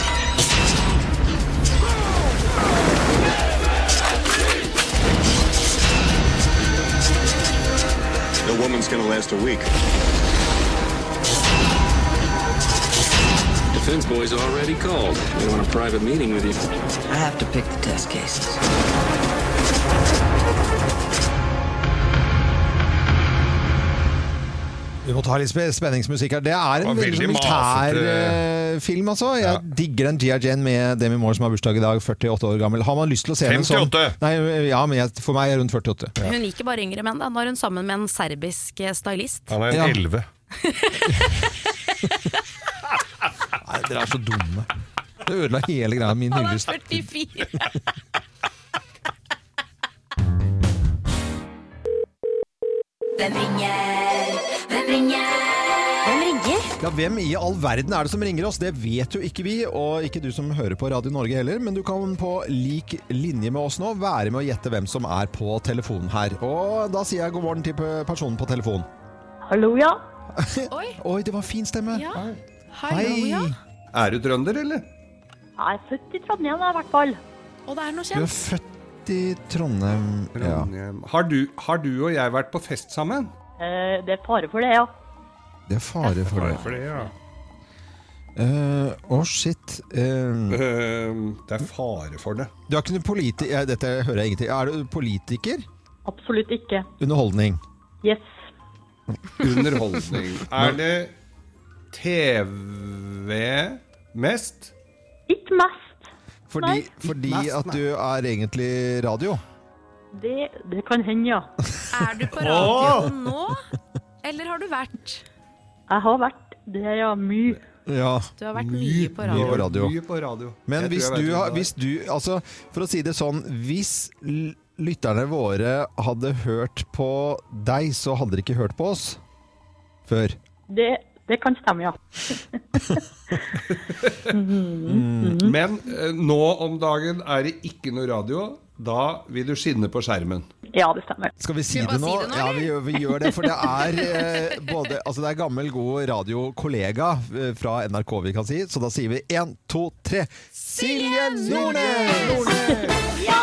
I: The woman's gonna last a week.
H: Defense boys already called. They want a private meeting with you.
G: I have to pick the test cases.
A: Vi må ta litt spe- spenningsmusikk her. Det er en
B: Og
A: veldig
B: veldig
A: sånn militær
B: masete-
A: eh, film, altså. Jeg digger den G.I. Jane med Demi Moore som har bursdag i dag, 48 år gammel. Har man lyst til å se den sånn?
B: 58.
A: Nei, ja, men jeg, for meg er hun 48.
C: Hun liker bare yngre menn. da Nå er hun sammen med en serbisk eh, stylist.
B: Han er
A: Ja.
B: en elleve.
A: Nei, dere er så dumme. Det ødela hele greia min
C: Han er
A: hyllest.
C: 44!
J: Hvem ringer? Hvem ringer? Hvem ringer?
A: Ja, Hvem i all verden er det som ringer oss? Det vet jo ikke vi, og ikke du som hører på Radio Norge heller. Men du kan på lik linje med oss nå være med å gjette hvem som er på telefonen her. Og da sier jeg god morgen til pe- personen på telefonen.
J: Hallo, ja.
C: Oi,
A: Oi, det var fin stemme!
C: ja. Hallo,
A: Hei!
C: ja.
E: Er du trønder, eller?
J: Jeg er født i Trondheim, i hvert fall.
C: Og det er
A: Du
C: noe kjent.
A: er født i Trondheim. Ja.
E: Trondheim. Har, du, har du og jeg vært på fest sammen?
J: Eh, det er fare for det, ja.
A: Det er fare for det.
E: For det, ja.
A: Å, shit. Eh,
E: Ehm, det er fare for det.
A: du er ikke noen politi... eh, Dette hører jeg ingenting. Er du politiker?
J: Absolutt ikke.
A: Underholdning.
J: Yes.
E: Underholdning. er det TV mest?
J: Ikke mest.
A: Fordi,
J: Nei.
A: fordi at du er egentlig radio.
J: Det, det kan hende, ja.
C: Er du på radioen nå? Eller har du vært?
J: Jeg har vært det, ja. Mye.
A: Ja.
C: Du har vært mye på
A: mye
C: radioen.
A: på radio.
E: Mye på radio.
A: Men
E: Jeg
A: hvis
E: tror jeg
A: du,
E: vet hvem
A: har,
E: det er.
A: hvis du altså, For å si det sånn Hvis l- lytterne våre hadde hørt på deg, så hadde de ikke hørt på oss før.
J: Det, det kan stemme, ja.
E: Men eh, nå om dagen er det ikke noe radio. Da vil du skinne på skjermen.
J: Ja, det stemmer.
A: Skal vi si
J: Skal vi
A: det nå?
J: bare si det nå,
A: ja, vi,
J: eller?
A: gjør- vi gjør det. For det er eh, både Altså, det er gammel, god radiokollega eh, fra NRK vi kan si, så da sier vi én, to, tre. Silje Nordnes!
F: Ja!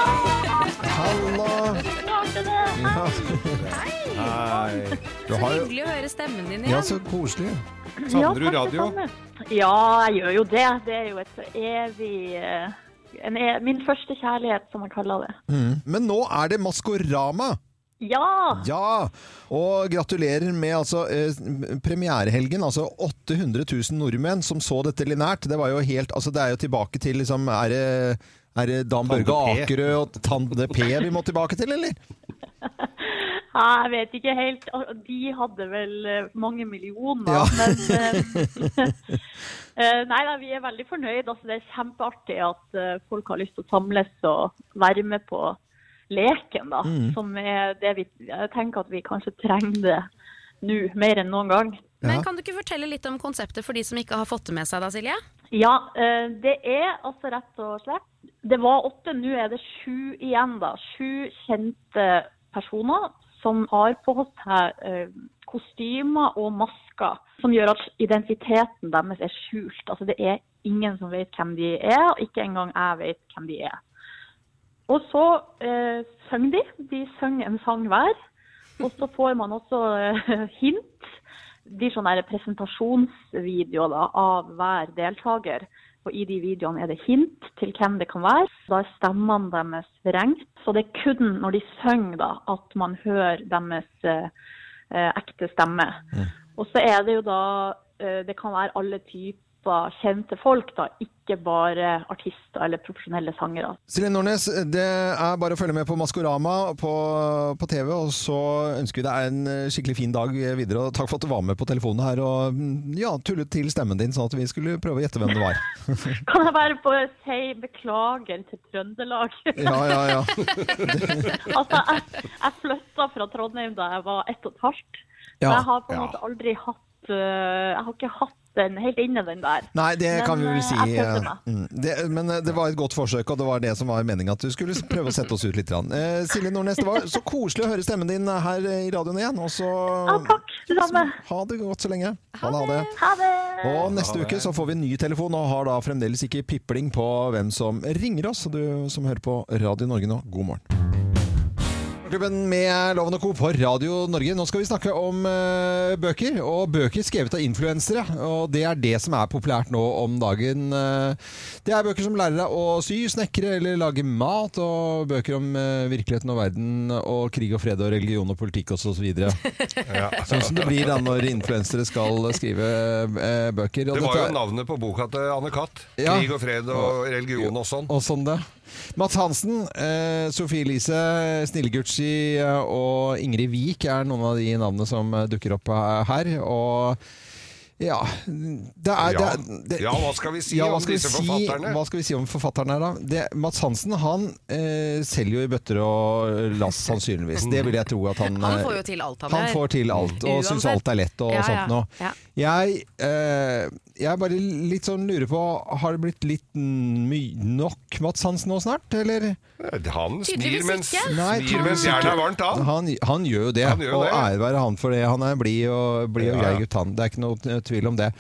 A: Hallo! Ja.
E: Hei.
A: Du
C: Så
A: har jo
C: hyggelig å høre stemmen din
A: Ja,
C: igjen.
A: så koselig.
J: Ja, takk, det samme. Ja, jeg gjør jo det. Det er jo et så evig eh, en, e- Min første kjærlighet, som man kaller det.
A: Mm. Men nå er det Maskorama!
J: Ja!
A: Ja! Og gratulerer med altså, eh, premierehelgen. Altså 800 000 nordmenn som så dette linært. Det, var jo helt, altså, det er jo tilbake til liksom, er det, er det Dan
E: Tande
A: Børge
E: P.
A: Akerø og Tande P vi må tilbake til, eller?
J: Nei, Jeg vet ikke helt. Al- De hadde vel eh, mange millioner,
A: Ja.
J: men eh, eh, Nei da, vi er veldig fornøyd. Altså, det er kjempeartig at eh, folk har lyst til å samles og være med på leken, da.
F: Mm.
J: Som er det vi Jeg tenker at vi kanskje trenger det nå, mer enn noen gang.
C: Men kan du ikke fortelle litt om konseptet for de som ikke har fått det med seg da, Silje?
J: Ja, eh, det er altså rett og slett Det var åtte, nå er det sju igjen, da. Sju kjente personer som har på seg eh, kostymer og masker som gjør at identiteten deres er skjult. Altså det er ingen som vet hvem de er, og ikke engang jeg vet hvem de er. Og så eh, synger de. De synger en sang hver. Og så får man også eh, hint blir sånn der presentasjonsvideo da, av hver deltaker. Og I de videoene er det hint til hvem det kan være. Da er stemmene deres vrengt. Så det er kun når de synger da, at man hører deres eh, eh, ekte stemme. Og så er det jo da eh, Det kan være alle typer kjente folk, da. Ikke bare artister eller profesjonelle sangere.
A: Silje Nordnes, det er bare å følge med på Maskorama på, på TV, og så ønsker vi deg en eh, skikkelig fin dag videre. Og takk for at du var med på telefonen her og mm, ja, tullet til stemmen din, sånn at vi skulle prøve å gjette hvem det var.
J: Kan jeg bare få si beklager til Trøndelag?
A: Ja, ja, ja.
J: altså, jeg, jeg flytta fra Trondheim da jeg var ett og et halvt.
A: Ja,
J: Så jeg har på en
A: ja.
J: måte aldri hatt øh, Jeg har ikke hatt den helt inne, den der.
A: Nei, det
J: Men,
A: kan vi vel
J: øh,
A: si.
J: Jeg prøvde meg.
A: eh, mm, det, men eh, det var et godt forsøk, og det var det som var meninga, at du skulle s- prøve å sette oss ut litt. grann. Eh, Silje Nordnes, det var så koselig å høre stemmen din her eh, i radioen igjen. Og så ha det godt så lenge. Ha det. Ha det.
J: Ha det!
A: Og neste uke så får vi en ny telefon, og har da fremdeles ikke pipling på hvem som ringer oss. Så Du som hører på Radio Norge nå, god morgen. Klubben med Loven og Co. på Radio Norge. Nå skal vi snakke om eh, bøker, og bøker skrevet av influensere. Og det er det som er populært nå om dagen. Eh, det er bøker som lærer deg å sy, snekre eller lage mat, og bøker om eh, virkeligheten og verden, og krig og fred og religion og politikk osv. Ja. Sånn som det blir da når influensere skal skrive eh, bøker. og
B: Det var
A: dette-
B: jo navnet på boka til Anne Katt.
A: Ja.
B: Krig og fred og religion og sånn.
A: og sånn det. Mats Hansen, eh, Sofie Elise, Snille Gucci eh, og Ingrid Wiik er noen av de navnene som eh, dukker opp eh, her. Og ja det er, det er, det,
B: Ja, hva skal vi si
A: hva
B: om
A: skal vi
B: disse
A: si-
B: forfatterne?
A: Hva skal vi si om forfatterne her, da? Det, Mats Hansen han eh, selger jo i bøtter og lass, sannsynligvis. Det vil jeg tro at han
C: Han får
A: eh,
C: jo til alt han
A: han
C: gjør.
A: får til alt, og syns
C: Uansett.
A: alt er lett og
C: Ja, ja,
A: sånt noe.
C: ja.
A: Jeg, eh, jeg bare litt sånn lurer på, har det blitt litt my nok Mats Hansen nå snart, eller?
B: Eh, Han
A: Tydeligvis
B: snir mens,
A: ikke. Nei,
B: snir mens
A: tydeligvis
B: jernet
A: ikke.
B: er varmt, han.
A: Han, han gjør jo det,
B: Han gjør jo
A: og
B: det.
A: ære være han for det. Han er blid og, blid og
B: Ja, ja.
A: grei gutt, han. Det er ikke noe t- tvil om det.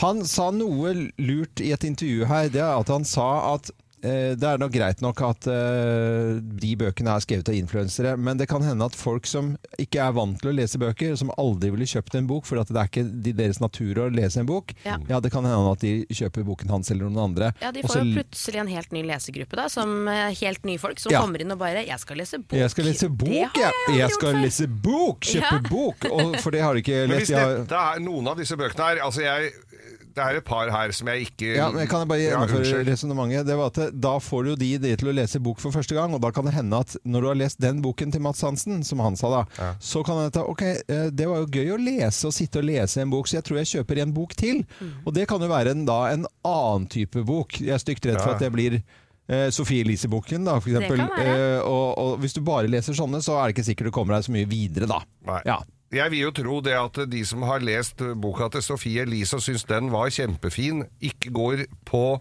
A: Han sa noe lurt i et intervju her. Det er at han sa at eh, det er nok greit nok at eh, de bøkene er skrevet av influensere, men det kan hende at folk som ikke er vant til å lese bøker, som aldri ville kjøpt en bok fordi at det er ikke de- deres natur å lese en bok,
C: Ja.
A: ja, det kan hende at de kjøper boken hans eller noen andre.
C: Ja, De
A: Og
C: får
A: så
C: jo plutselig en helt ny lesegruppe, da, som eh, helt nye folk som
A: Ja.
C: kommer inn og bare 'jeg skal lese bok'.
A: Jeg skal lese bok,
C: Det har
A: jeg! Jeg skal lese bok! Kjøpe
C: Ja.
A: bok! Og, for det har du ikke
B: Men
A: lest.
B: hvis
A: Jeg har-
B: dette er noen av disse bøkene her altså jeg, Det er et par her som jeg ikke
A: Ja, men kan jeg bare
B: Ja,
A: gjennomføre
B: unnskyld.
A: resonnementet? Det var at det- Da får du de, de til å lese bok for første gang, og da kan det hende at når du har lest den boken til Mats Hansen, som han sa da, så kan det hende at, ok, eh, det var jo gøy å lese og sitte og lese en bok, så jeg tror jeg kjøper en bok til.
C: Mm.
A: Og det kan jo være en, da en annen type bok. Jeg er stygt redd for
B: Ja.
A: at det blir eh, Sofie Elise-boken, da, for
B: Det kan
A: eksempel.
B: være.
A: Eh, og, og hvis du bare leser sånne, så er det ikke sikkert du kommer deg så mye videre, da. Ja.
B: Jeg vil jo tro det at de som har lest boka til Sofie Elise og syns den var kjempefin, ikke går på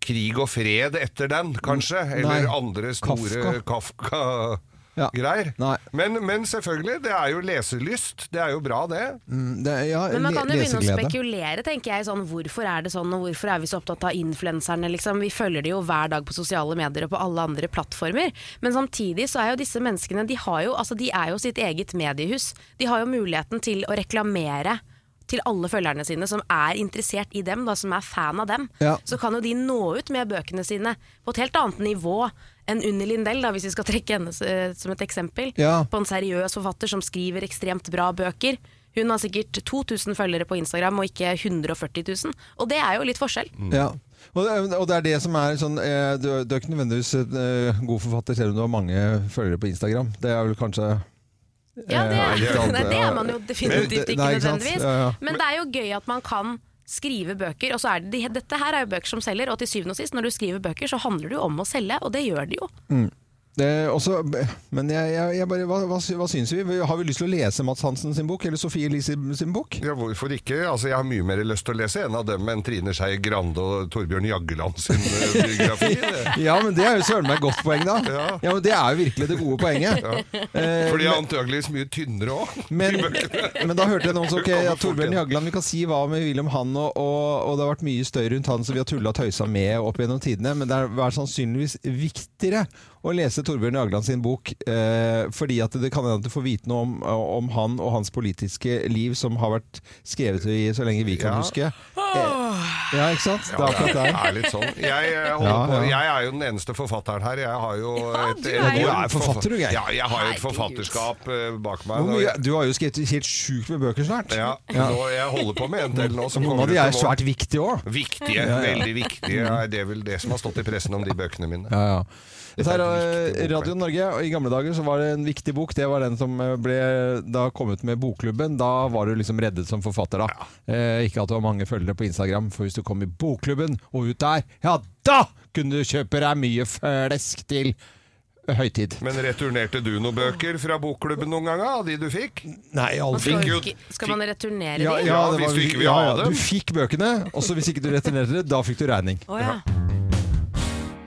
B: krig og fred etter den, kanskje? Eller
A: Nei.
B: andre store Kafka. greier. Men, men selvfølgelig, det er jo leselyst. Det er jo bra, det.
A: Mm, det, ja,
C: Men man kan jo
A: le-
C: begynne å
A: leseglede.
C: spekulere, tenker jeg. Sånn, hvorfor er det sånn, og hvorfor er vi så opptatt av influenserne? Liksom? Vi følger det jo hver dag på sosiale medier og på alle andre plattformer. Men samtidig så er jo disse menneskene De, har jo, altså, de er jo sitt eget mediehus. De har jo muligheten til å reklamere til alle følgerne sine som er interessert i dem, da, som er fan av dem.
A: Ja.
C: Så kan jo de nå ut med bøkene sine på et helt annet nivå enn Unni Lindell, da, hvis vi skal trekke henne eh, som et eksempel
A: Ja.
C: på en seriøs forfatter som skriver ekstremt bra bøker. Hun har sikkert 2000 følgere på Instagram, og ikke 140 000. Og det er jo litt forskjell.
A: Ja. Og det, og det er det som er sånn eh, Du, du er ikke nødvendigvis en eh, god forfatter selv om du har mange følgere på Instagram. Det er vel kanskje
C: Ja, det
A: eh,
C: er,
A: litt annet,
C: nei, det er man
A: ja.
C: jo definitivt ikke
A: Nei, sant?
C: nødvendigvis.
A: Ja, ja.
C: Men det er jo gøy at man kan skrive bøker, og så er det, de- dette her er jo bøker som selger, og til syvende og sist, når du skriver bøker, så handler det jo om å selge, og det gjør det jo.
A: Mm. Det er også, men jeg, jeg, jeg bare, hva, hva, sy- hva syns vi? Har vi lyst til å lese Mats Hansen sin bok, eller Sofie Elise sin, sin bok?
B: Ja, hvorfor ikke? Altså, jeg har mye mer lyst til å lese en av dem enn Trine Skei Grande og Torbjørn Jagland sin eh, biografi. det.
A: Ja, men det er jo søren meg et godt poeng, da. Ja. men Det er jo virkelig det gode poenget.
B: Ja.
A: Eh,
B: For de er
A: men-
B: antakeligvis mye tynnere òg.
A: Men, men da hørte jeg noen som ok, ja, Torbjørn Jagland, vi kan si hva vi vil om han, og, og, og det har vært mye støy rundt han som vi har tulla og tøysa med opp gjennom tidene, men det er- er sannsynligvis viktigere å lese Torbjørn Jagland sin bok, eh, fordi at det kan hende at du får vite noe om, om han og hans politiske liv som har vært skrevet i så lenge vi kan
B: Ja.
A: huske. Ja, ikke sant? Det er akkurat
B: det
A: der.
B: er litt sånn. Jeg, eh, holder
A: Ja,
B: på.
A: ja.
B: jeg er jo den eneste forfatteren her. Jeg har jo et,
A: du er jo- Du er forfatter, du, Geir.
B: Ja, jeg har jo et forfatterskap eh, bak meg.
A: Hvor
B: og
A: mye,
B: jeg-
A: du har jo skrevet helt sjukt med bøker snart.
B: Ja,
A: Ja.
B: Nå, jeg holder på med en del nå. som
A: Noen av
B: kommer
A: de
B: ut
A: er
B: til våren.
A: svært viktige òg.
B: Viktige, veldig viktige. Ja, det er vel det som har stått i pressen om de bøkene mine.
A: Ja, ja. Dette er eh, Radio Norge, og i gamle dager så var det en viktig bok. Det var den som eh, ble da kom ut med Bokklubben. Da var du liksom reddet som forfatter, da. Eh, ikke at du har mange følgere på Instagram, for hvis du kom i Bokklubben og ut der, ja da kunne du kjøpe deg mye flesk til høytid.
B: Men returnerte du noen bøker fra bokklubben noen ganger, av de du fikk?
A: Nei, aldri.
B: Fikk jo-
C: Skal, skal man returnere
A: Ja,
C: de?
A: ja, det var,
B: hvis du ikke vil
A: ja,
B: ha
A: ja,
B: dem.
A: du fikk bøkene, og så hvis ikke du returnerte det, da fikk du regning.
C: Å ja.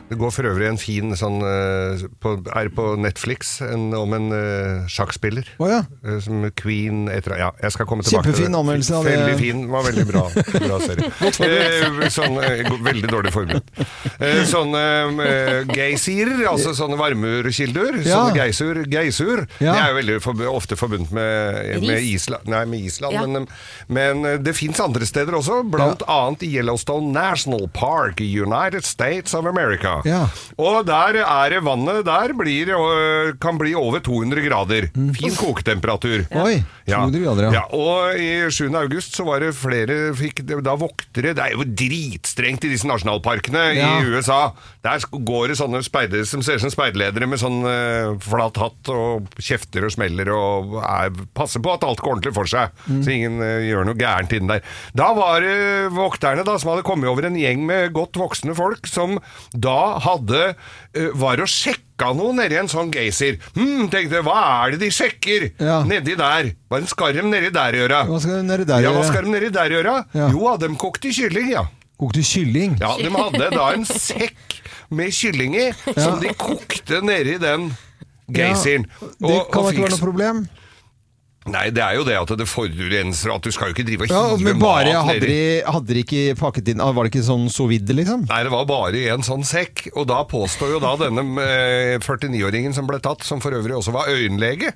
B: Det går for øvrig en fin sånn eh, på, Er på Netflix en, om en eh, sjakkspiller. Eh, Som Queen et eller annet. Ja, jeg skal komme tilbake
A: Kjempefin anmeldelse av det.
B: Veldig fin. Var veldig bra. bra serie.
A: Godt forberedt.
B: Eh, sånn, eh, go- veldig dårlig forberedt. Eh, sånne eh, geysirer, altså sånne varmurkilder.
A: Ja.
B: Sånne geysur. Geysur.
A: Ja.
B: Det er jo veldig forb ofte forbundet med, med
A: Ris.
B: Island. Nei, med Island.
A: Ja.
B: Men, men eh, det fins andre steder også, blant annet i Yellowstone National Park i United States of America.
A: Ja.
B: Og der er det vannet der blir, øh, kan bli over 200 grader. Fin koketemperatur.
A: Mhm. Oi, 200 grader, ja.
B: ja. Og i 7. august så var det flere fikk, Da voktere Det er jo dritstrengt i disse nasjonalparkene
A: Ja.
B: i USA. Der sk- går det sånne speidere som ser ut som speiderledere med sånn øh, flat hatt og kjefter og smeller og er, passer på at alt går ordentlig for seg, så ingen øh, gjør noe gærent inne der. Da var det vokterne da som hadde kommet over en gjeng med godt voksne folk som da hadde øh, var og sjekka noe nedi en sånn geysir. Hm, tenkte jeg, hva er det de sjekker? Nedi der. Hva er en skarm nedi der gjøre?
A: Hva skal du nedi der
B: Ja, hva
A: gjøre?
B: skal de nedi der gjøre?
A: Ja.
B: Jo, de kokte kylling, ja.
A: Kokte kylling?
B: Ja, de hadde da en sekk med kylling i, som de kokte nedi den geysiren.
A: Ja, det
B: Og-
A: kan
B: og
A: da ikke
B: fikk-
A: være noe problem.
B: Nei, det er jo det at det forurenser, at du skal jo ikke drive og
A: Ja,
B: hive
A: men bare
B: mat
A: hadde
B: nedi.
A: de, hadde de ikke pakket inn ah, Var det ikke sånn sovide, liksom?
B: Nei, det var bare i en sånn sekk, og da påstår jo da denne eh, 49-åringen som ble tatt, som for øvrig også var øyenlege,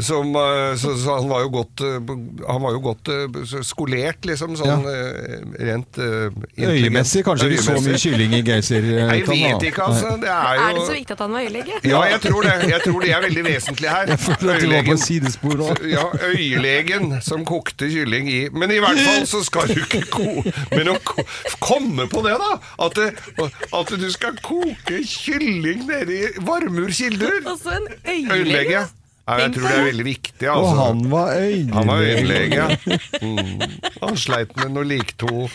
B: som, eh, så, så han var jo godt, eh, han var jo godt eh, skolert, liksom, sånn eh, rent eh, intelligent.
A: Øyemessig kanskje ikke så mye
B: Øyemessig.
A: kylling i Geysir. eh,
B: Nei, jeg
A: kan, da.
B: vet ikke, altså.
A: Nei.
B: Det er jo
C: Er det så viktig at han var øyelege?
B: Ja, jeg tror det. Jeg tror de er veldig vesentlige her.
A: Jeg føler at du var på et sidespor nå.
B: Ja, øyelegen som kokte kylling i Men i hvert fall så skal du ikke ko... Men å ko komme på det, da! At, det, at du skal koke kylling nede i varmurkilder!
C: Altså en
B: Øyelege.
C: øyelege?
B: Ja, jeg tror det er veldig viktig,
A: Og
B: altså.
A: han var øyelege.
B: Han var øyelege. Mm. Han sleit med noe liktå.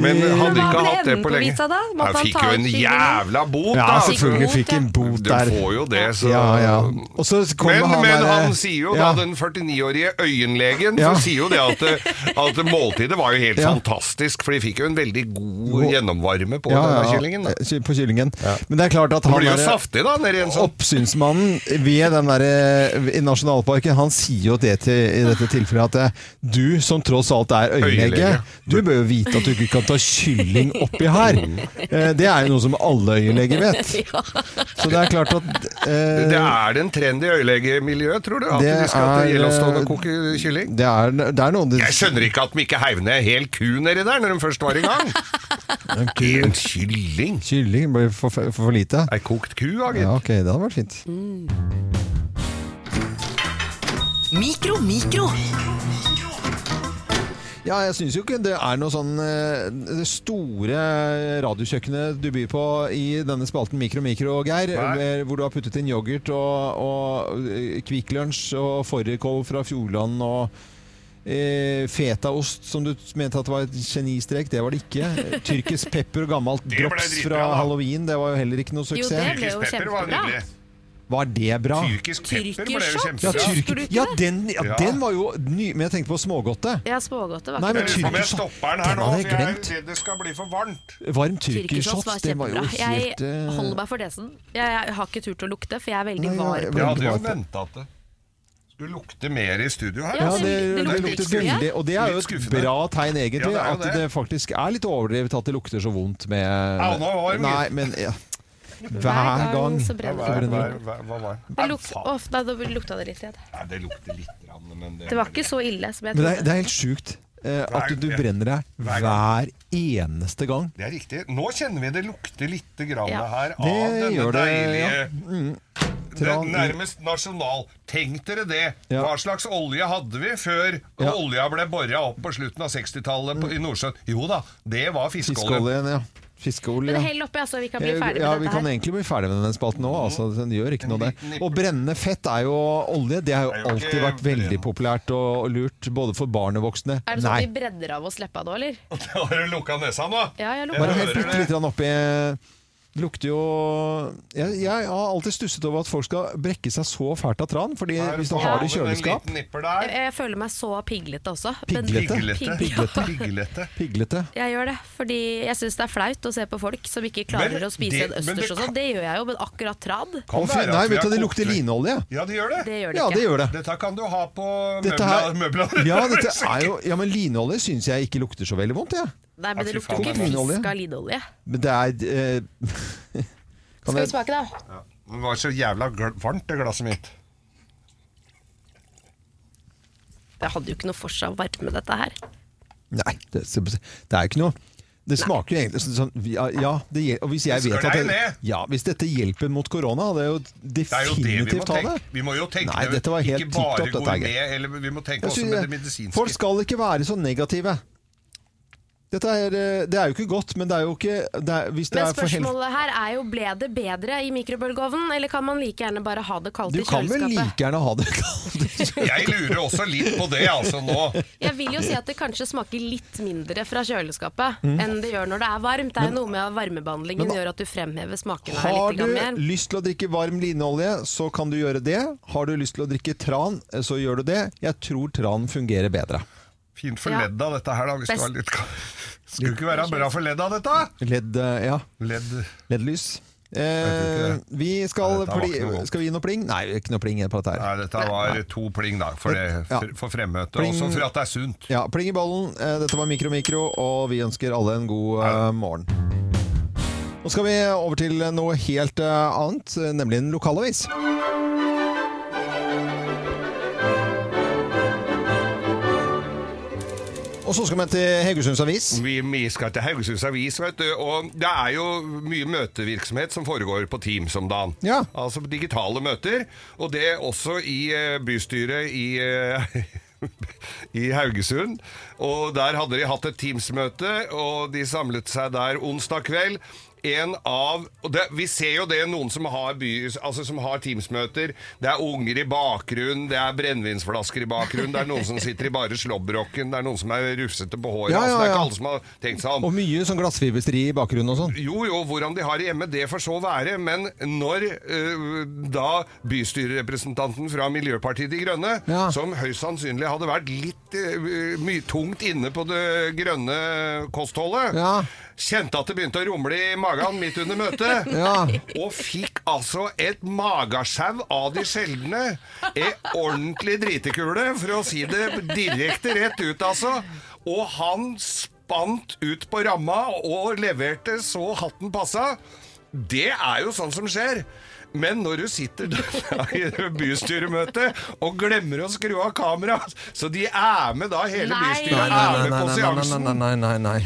B: Men hadde
A: Men hva
B: ikke
A: ble
B: hatt det
A: enden
B: på
A: på
B: lenge.
A: visa da? Måtte
B: Jeg
A: han
B: fikk
A: ta
B: jo
A: ut
B: en
A: skyldningen?
B: jævla bot,
A: Ja,
B: da!
A: selvfølgelig fikk en bot der.
B: Du får jo det, så
A: Ja, ja. Og så kommer
B: men,
A: han
B: men
A: der- eh,
B: han sier jo
A: Ja.
B: da, den 49-årige øyenlegen,
A: Ja.
B: så sier jo det at, eh, at måltidet var jo helt
A: Ja.
B: fantastisk, for de fikk jo en veldig god
A: Jo.
B: gjennomvarme på
A: Ja, ja,
B: denne kyllingen. Da.
A: ky- På kyllingen. Men det er klart at
B: Den
A: han eh,
B: blir jo
A: er-
B: saftig, da, nedi en sånn.
A: Oppsynsmannen ved den der, eh, i nasjonalparken, han sier jo det til, i dette tilfellet at eh, du som tross alt er øyelege,
B: Øyelege.
A: du bør jo vite at du ikke kan ta kylling oppi her. Eh, Det er jo noe som alle øyeleger vet. Så det er klart at eh,
B: Det er det en trend i øyelegemiljøet, tror du? At
A: Det
B: de skal
A: er,
B: til Yellowstone
A: eh,
B: og koke kylling?
A: det er, det er noen
B: Jeg skjønner ikke at de ikke heiv ned hel ku nedi der når de først var i gang. En kylling?
A: Kylling blir for, for, for lite.
B: Ei kokt ku, da, gitt.
A: Ja, ok, det hadde vært fint.
K: Mikro, mikro.
A: Ja, jeg syns jo ikke det er noe sånn eh, Det store radiokjøkkenet du byr på i denne spalten Mikro Mikro, Geir,
B: Nei.
A: eh, hvor du har puttet inn yoghurt og, og eh, Kvikk Lunsj og fårikål fra Fjordland og eh, fetaost, som du mente at var et genistrek. Det var det ikke. Tyrkisk pepper og gammelt
B: Det ble
A: drops
B: dritbra,
A: fra
B: da.
A: halloween, det var jo heller ikke noe
B: Jo,
A: suksess.
B: det ble jo Tyrkisk pepper var kjempebra. nydelig.
A: Var det bra?
B: Tyrkisk pepper ble jo
A: Ja,
B: kjempebra.
A: tyrk, ja, den, ja,
B: Ja.
A: den var jo ny, men jeg tenkte på smågodte.
C: Ja, smågodte var
A: Nei,
C: ikke
A: men
B: Om
C: det.
B: jeg
A: tyrkisk
B: stopper sånn. den
A: Den
B: her nå,
A: hadde
B: for
A: jeg
B: jeg
A: glemt.
B: er redd det skal bli for varmt.
A: Varm tyrkershots,
C: Tyrkershots var
A: det var jo
C: kjempebra. Jeg
A: helt eh,
C: holder meg for desen. Jeg, jeg har ikke turt å lukte, for jeg er veldig
A: Nei,
C: var
A: jeg-
C: på
B: Jeg hadde jo
A: på-
B: venta at det skulle lukte mer i studio her.
A: Ja, det,
B: altså.
A: det,
B: er litt
A: lukter
B: skuffende.
A: veldig Og det er jo
B: Litt
A: et
B: skuffende.
A: bra tegn, egentlig.
B: Ja, det er jo
A: at det
B: det.
A: faktisk er litt overdrevet at det lukter så vondt med
B: nå var det mye.
A: Nei, men ja. Hver gang
C: så brenner
B: Hva
C: det.
B: er- hva er- hva- hva var det?
C: Det lukter- Åh, nei, da lukta det litt. igjen.
B: Nei, det lukter litt, grann, men det
C: Det var ikke så ille som jeg
A: Men det
C: trodde.
A: er, det er helt sjukt eh, at du, du brenner deg
B: Hver
A: hver eneste gang.
B: Det er riktig. Nå kjenner vi det lukter litt grann
A: Ja.
B: her av
A: Det
B: denne
A: gjør det,
B: deilige
A: ja. Mm.
B: Det er
A: Tran-
B: nærmest nasjonal. Tenk dere det!
A: Ja.
B: Hva slags olje hadde vi før
A: Ja. Mm.
B: olja ble bora opp på slutten av 60-tallet på- i Nordsjøen? Jo da, det var fiskeolje.
A: Fiskeoljen, ja. Fiskeolje.
C: Men hell oppi, altså. Vi kan bli
A: Eh,
C: ferdig med
A: ja,
C: dette
A: vi kan
C: her.
A: egentlig bli ferdig med denne spalten nå. Altså,
B: Mm.
A: den gjør ikke noe det. Og brennende fett er jo olje. Det har jo alltid vært veldig populært og, og lurt, både for barn og voksne.
C: Er det sånn
A: Nei.
C: at vi bredder av oss leppa nå, eller?
B: Har du lukka nesa nå?
C: Ja, jeg lukker
A: Bare helt
C: nesa.
A: bitte litt grann oppi Det lukter jo jeg, jeg har alltid stusset over at folk skal brekke seg så fælt av tran. Fordi hvis du har det i kjøleskap
C: Jeg, jeg føler meg så piglete også. Men-
A: Piglete.
C: Pig-
A: Piglete. Piglete.
C: Jeg gjør det, fordi jeg syns det er flaut å se på folk som ikke klarer
B: Men
C: å spise
B: det-
C: en
B: men det
C: østers og sånn. Det gjør jeg jo, men akkurat trad
A: Å, fy- Nei, vet du, det lukter linolje.
B: Ja, det gjør det.
C: Det gjør det
A: Ja,
C: ikke.
A: det gjør det.
B: Dette kan du ha på
A: Dette her,
B: møbler.
A: ja, dette er jo, ja, men linolje syns jeg ikke lukter så veldig vondt, jeg.
C: Nei, men det
A: Ja, fy
C: lukter jo
A: faen,
C: ikke
A: linolje.
C: fisk av linolje.
A: Men det er eh, Kan
C: Skal vi
A: jeg,
C: smake, da?
B: Det var så jævla gl- varmt, det glasset mitt.
C: Det hadde jo ikke noe for seg å varme dette her.
A: nei, det, det er ikke noe Det smaker jo egentlig sånn- sånn Ja, ja det, gjel- og hvis jeg
B: Det
A: vet
B: sklei
A: at det,
B: ned.
A: ja, Hvis dette hjelper mot korona, hadde jeg jo
B: Det er jo det vi må
A: definitivt ta det.
B: tenke. Vi må jo tenke
A: Nei, dette var helt
B: ikke bare
A: tipp topp, dette her,
B: gourmet,
A: Geir.
B: eller vi må tenke
A: Jeg
B: også
A: synes
B: med
A: jeg-
B: det medisinske.
A: Folk skal ikke være så negative. Dette er, eh, det er jo ikke godt, men det er jo ikke det er, Hvis det
C: Men
A: er for hel...
C: spørsmålet her er jo ble det bedre i mikrobølgeovnen, eller kan man like gjerne bare ha det kaldt
A: Du
C: i
A: kan vel
C: kjøleskapet?
A: like gjerne ha det kaldt.
B: Jeg lurer også litt på det, altså, nå.
C: Jeg vil jo si at det kanskje smaker litt mindre fra kjøleskapet
A: Mm.
C: enn det gjør når det er varmt. Det er jo noe med at varmebehandlingen
A: Men-
C: gjør at du fremhever smakene her
A: Har
C: litt
A: du
C: grann mer.
A: lyst til å drikke varm lineolje, så kan du gjøre det. Har du lyst til å drikke tran, eh, så gjør du det. Jeg tror tran fungerer bedre.
B: Fint for
C: Ja.
B: ledda, dette her, da. Hvis
C: Best.
B: du har litt Skulle ikke være bra for ledda, dette!
A: Ledd, eh, ja. Leddlys. Eh, vi skal,
B: Nei, dette var
A: pli,
B: ikke noe godt.
A: skal vi gi noe pling? Nei, ikke noe pling på dette her.
B: Nei, dette var to pling, da. For, det,
A: Ja.
B: for- for fremmøte.
A: Pling.
B: Også for at det er sunt.
A: Ja, pling i ballen. Eh, Dette var Mikro Mikro, og vi ønsker alle en god eh, morgen. Nå skal vi over til noe helt eh, annet, eh, nemlig en lokalavis. Og så skal vi til Haugesunds Avis.
B: Vi, vi skal til Haugesunds Avis, vet du. Og det er jo mye møtevirksomhet som foregår på Teams om dagen.
A: Ja.
B: Altså digitale møter. Og det også i eh, bystyret i eh, i Haugesund. Og der hadde de hatt et Teams-møte, og de samlet seg der onsdag kveld. en av og det, Vi ser jo det noen som har, by, altså som har Teams-møter. Det er unger i bakgrunnen, det er brennevinsflasker i bakgrunnen, det er noen som sitter i bare slåbroken, det er noen som er rufsete på håret.
A: Ja, ja,
B: altså, det er
A: ja.
B: ikke alle som har tenkt seg om.
A: Og mye sånn glassfiberstri i bakgrunnen og sånn.
B: Jo, jo, hvordan de har det hjemme, det får så være. Men når eh, da bystyrerepresentanten fra Miljøpartiet De Grønne, som høyst sannsynlig hadde vært litt eh, mye tungt inne på det grønne kostholdet, kjente at det begynte å rumle i magen midt under møtet,
A: Ja.
B: og fikk altså et magesjau av de sjeldne. En ordentlig dritekule, for å si det direkte rett ut, altså. Og han spant ut på ramma og leverte så hatten passa. Det er jo sånn som skjer. Men når du sitter der i bystyremøte og glemmer å skru av kameraet, så de er med da hele
A: Nei.
B: bystyret,
A: Nei, nei,
B: er med
A: nei, nei,
B: på
A: nei,
B: seansen.
A: nei, nei, nei, nei.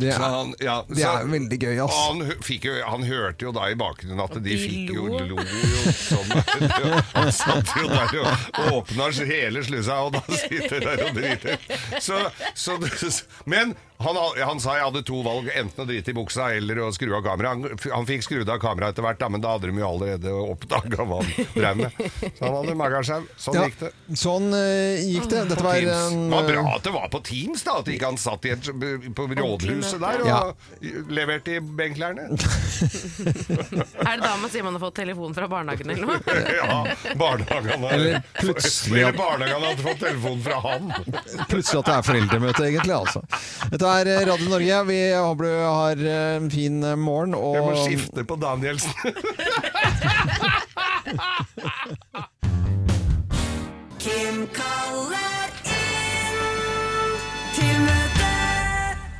A: Det
B: Så
A: er,
B: han, ja,
A: det
B: så-
A: er veldig gøy, ass.
B: Og Han, hø- fikk jo, han hørte jo da i bakgrunnen at de, fikk jo
A: lo.
B: lo jo som Han satt jo der og åpna hele slusa, og da sitter der og driter. Så, så, men han, han sa jeg hadde to valg, enten å drite i buksa eller å skru av kameraet. Han, han fikk skrudd av kameraet etter hvert, da, men da hadde de jo allerede oppdaga hva han drev med. Så han hadde magasjau. Sånn
A: Ja,
B: gikk det.
A: Sånn eh, gikk det. Dette
B: På
A: var
B: Teams.
A: en
B: Det var bra
A: eh,
B: at det var på Teams, da. At ikke han satt i et, på rådhuset der og
A: Ja.
B: leverte i benklærne.
C: Er det da man sier man har fått telefon fra barnehagen eller noe?
B: ja, barnehagen har
A: Eller plutselig at-
B: Eller barnehagen hadde fått telefon fra han.
A: Plutselig at det er foreldremøte, egentlig. altså. Dette er eh, Radio Norge. Vi håper du har eh, en fin eh, morgen. Og
B: Jeg må skifte på Danielsen.
K: Kim kaller inn til møte.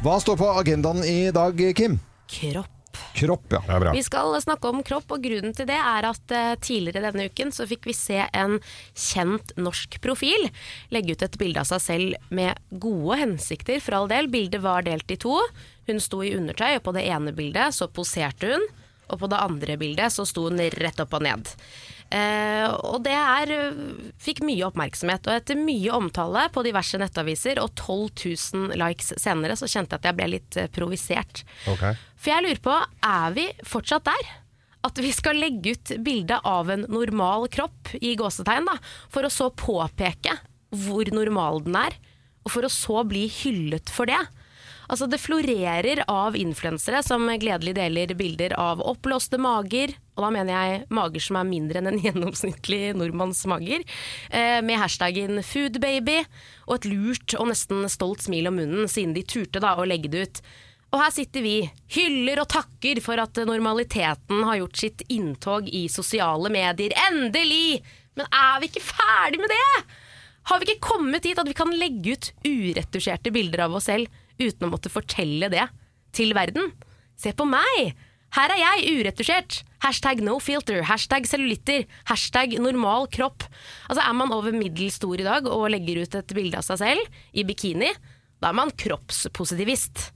A: Hva står på agendaen i dag, Kim?
C: Kropp.
A: Kropp, ja. Det er
C: Vi skal snakke om kropp, og grunnen til det er at eh, tidligere denne uken så fikk vi se en kjent norsk profil legge ut et bilde av seg selv med gode hensikter, for all del. Bildet var delt i to. Hun sto i undertøy, og på det ene bildet så poserte hun. Og på det andre bildet så sto hun rett opp og ned. Eh, og det er, eh, fikk mye oppmerksomhet. Og etter mye omtale på diverse nettaviser og 12 000 likes senere, så kjente jeg at jeg ble litt eh, provisert. For jeg lurer på, er vi fortsatt der? At vi skal legge ut bilde av en normal kropp, i gåsetegn, da, for å så påpeke hvor normal den er, og for å så bli hyllet for det. Altså Det florerer av influensere som gledelig deler bilder av oppblåste mager, og da mener jeg mager som er mindre enn en gjennomsnittlig nordmanns mager, eh, med hashtaggen 'foodbaby' og et lurt og nesten stolt smil om munnen, siden de turte da å legge det ut. Og her sitter vi, hyller og takker for at normaliteten har gjort sitt inntog i sosiale medier. Endelig! Men er vi ikke ferdig med det? Har vi ikke kommet dit at vi kan legge ut uretusjerte bilder av oss selv uten å måtte fortelle det til verden? Se på meg! Her er jeg, uretusjert! Hashtag no filter, hashtag cellulitter, hashtag normal kropp. Altså Er man over middels stor i dag og legger ut et bilde av seg selv i bikini, da er man kroppspositivist.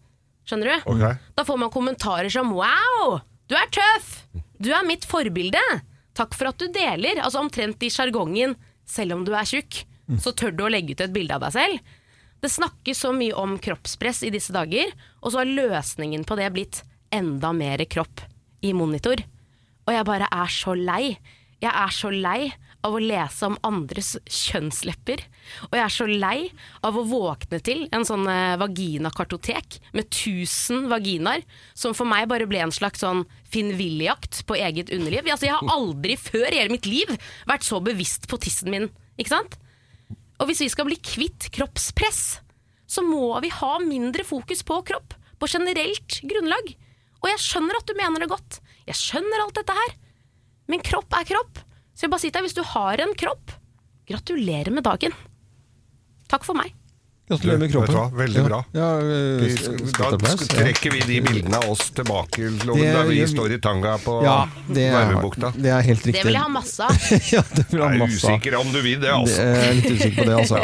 C: Skjønner du?
B: Ok.
C: Da får man kommentarer som Wow, du er tøff! Du er mitt forbilde! Takk for at du deler. Altså omtrent i sjargongen. Selv om du er tjukk, så tør du å legge ut et bilde av deg selv. Det snakkes så mye om kroppspress i disse dager, og så har løsningen på det blitt enda mer kropp i monitor. Og jeg bare er så lei. Jeg er så lei av å lese om andres kjønnslepper. Og jeg er så lei av å våkne til en sånn eh, vaginakartotek med 1000 vaginaer, som for meg bare ble en slags sånn finvilligjakt på eget underliv. Altså, jeg har aldri før i hele mitt liv vært så bevisst på tissen min, ikke sant? Og hvis vi skal bli kvitt kroppspress, så må vi ha mindre fokus på kropp. På generelt grunnlag. Og jeg skjønner at du mener det godt. Jeg skjønner alt dette her. Men kropp er kropp. Så jeg bare sier til deg, hvis du har en kropp, gratulerer med dagen. Takk for meg.
A: Gratulerer med kroppen.
B: Vet du hva? Veldig
A: Ja.
B: bra.
A: Ja, eh,
B: Vi skal- Da
A: støtteapplaus, ja.
B: trekker vi de bildene av oss tilbake
A: Det
B: Loven, der vi
A: gjør vi.
B: står i tanga på
A: Ja, det er-
B: Narvebukta.
A: Det er helt riktig.
C: Det vil jeg ha masse av.
A: ja, det vil jeg
B: Jeg
A: ha
B: er
A: masse av.
B: usikker om du vil det, altså.
A: Det er litt usikker på det, altså.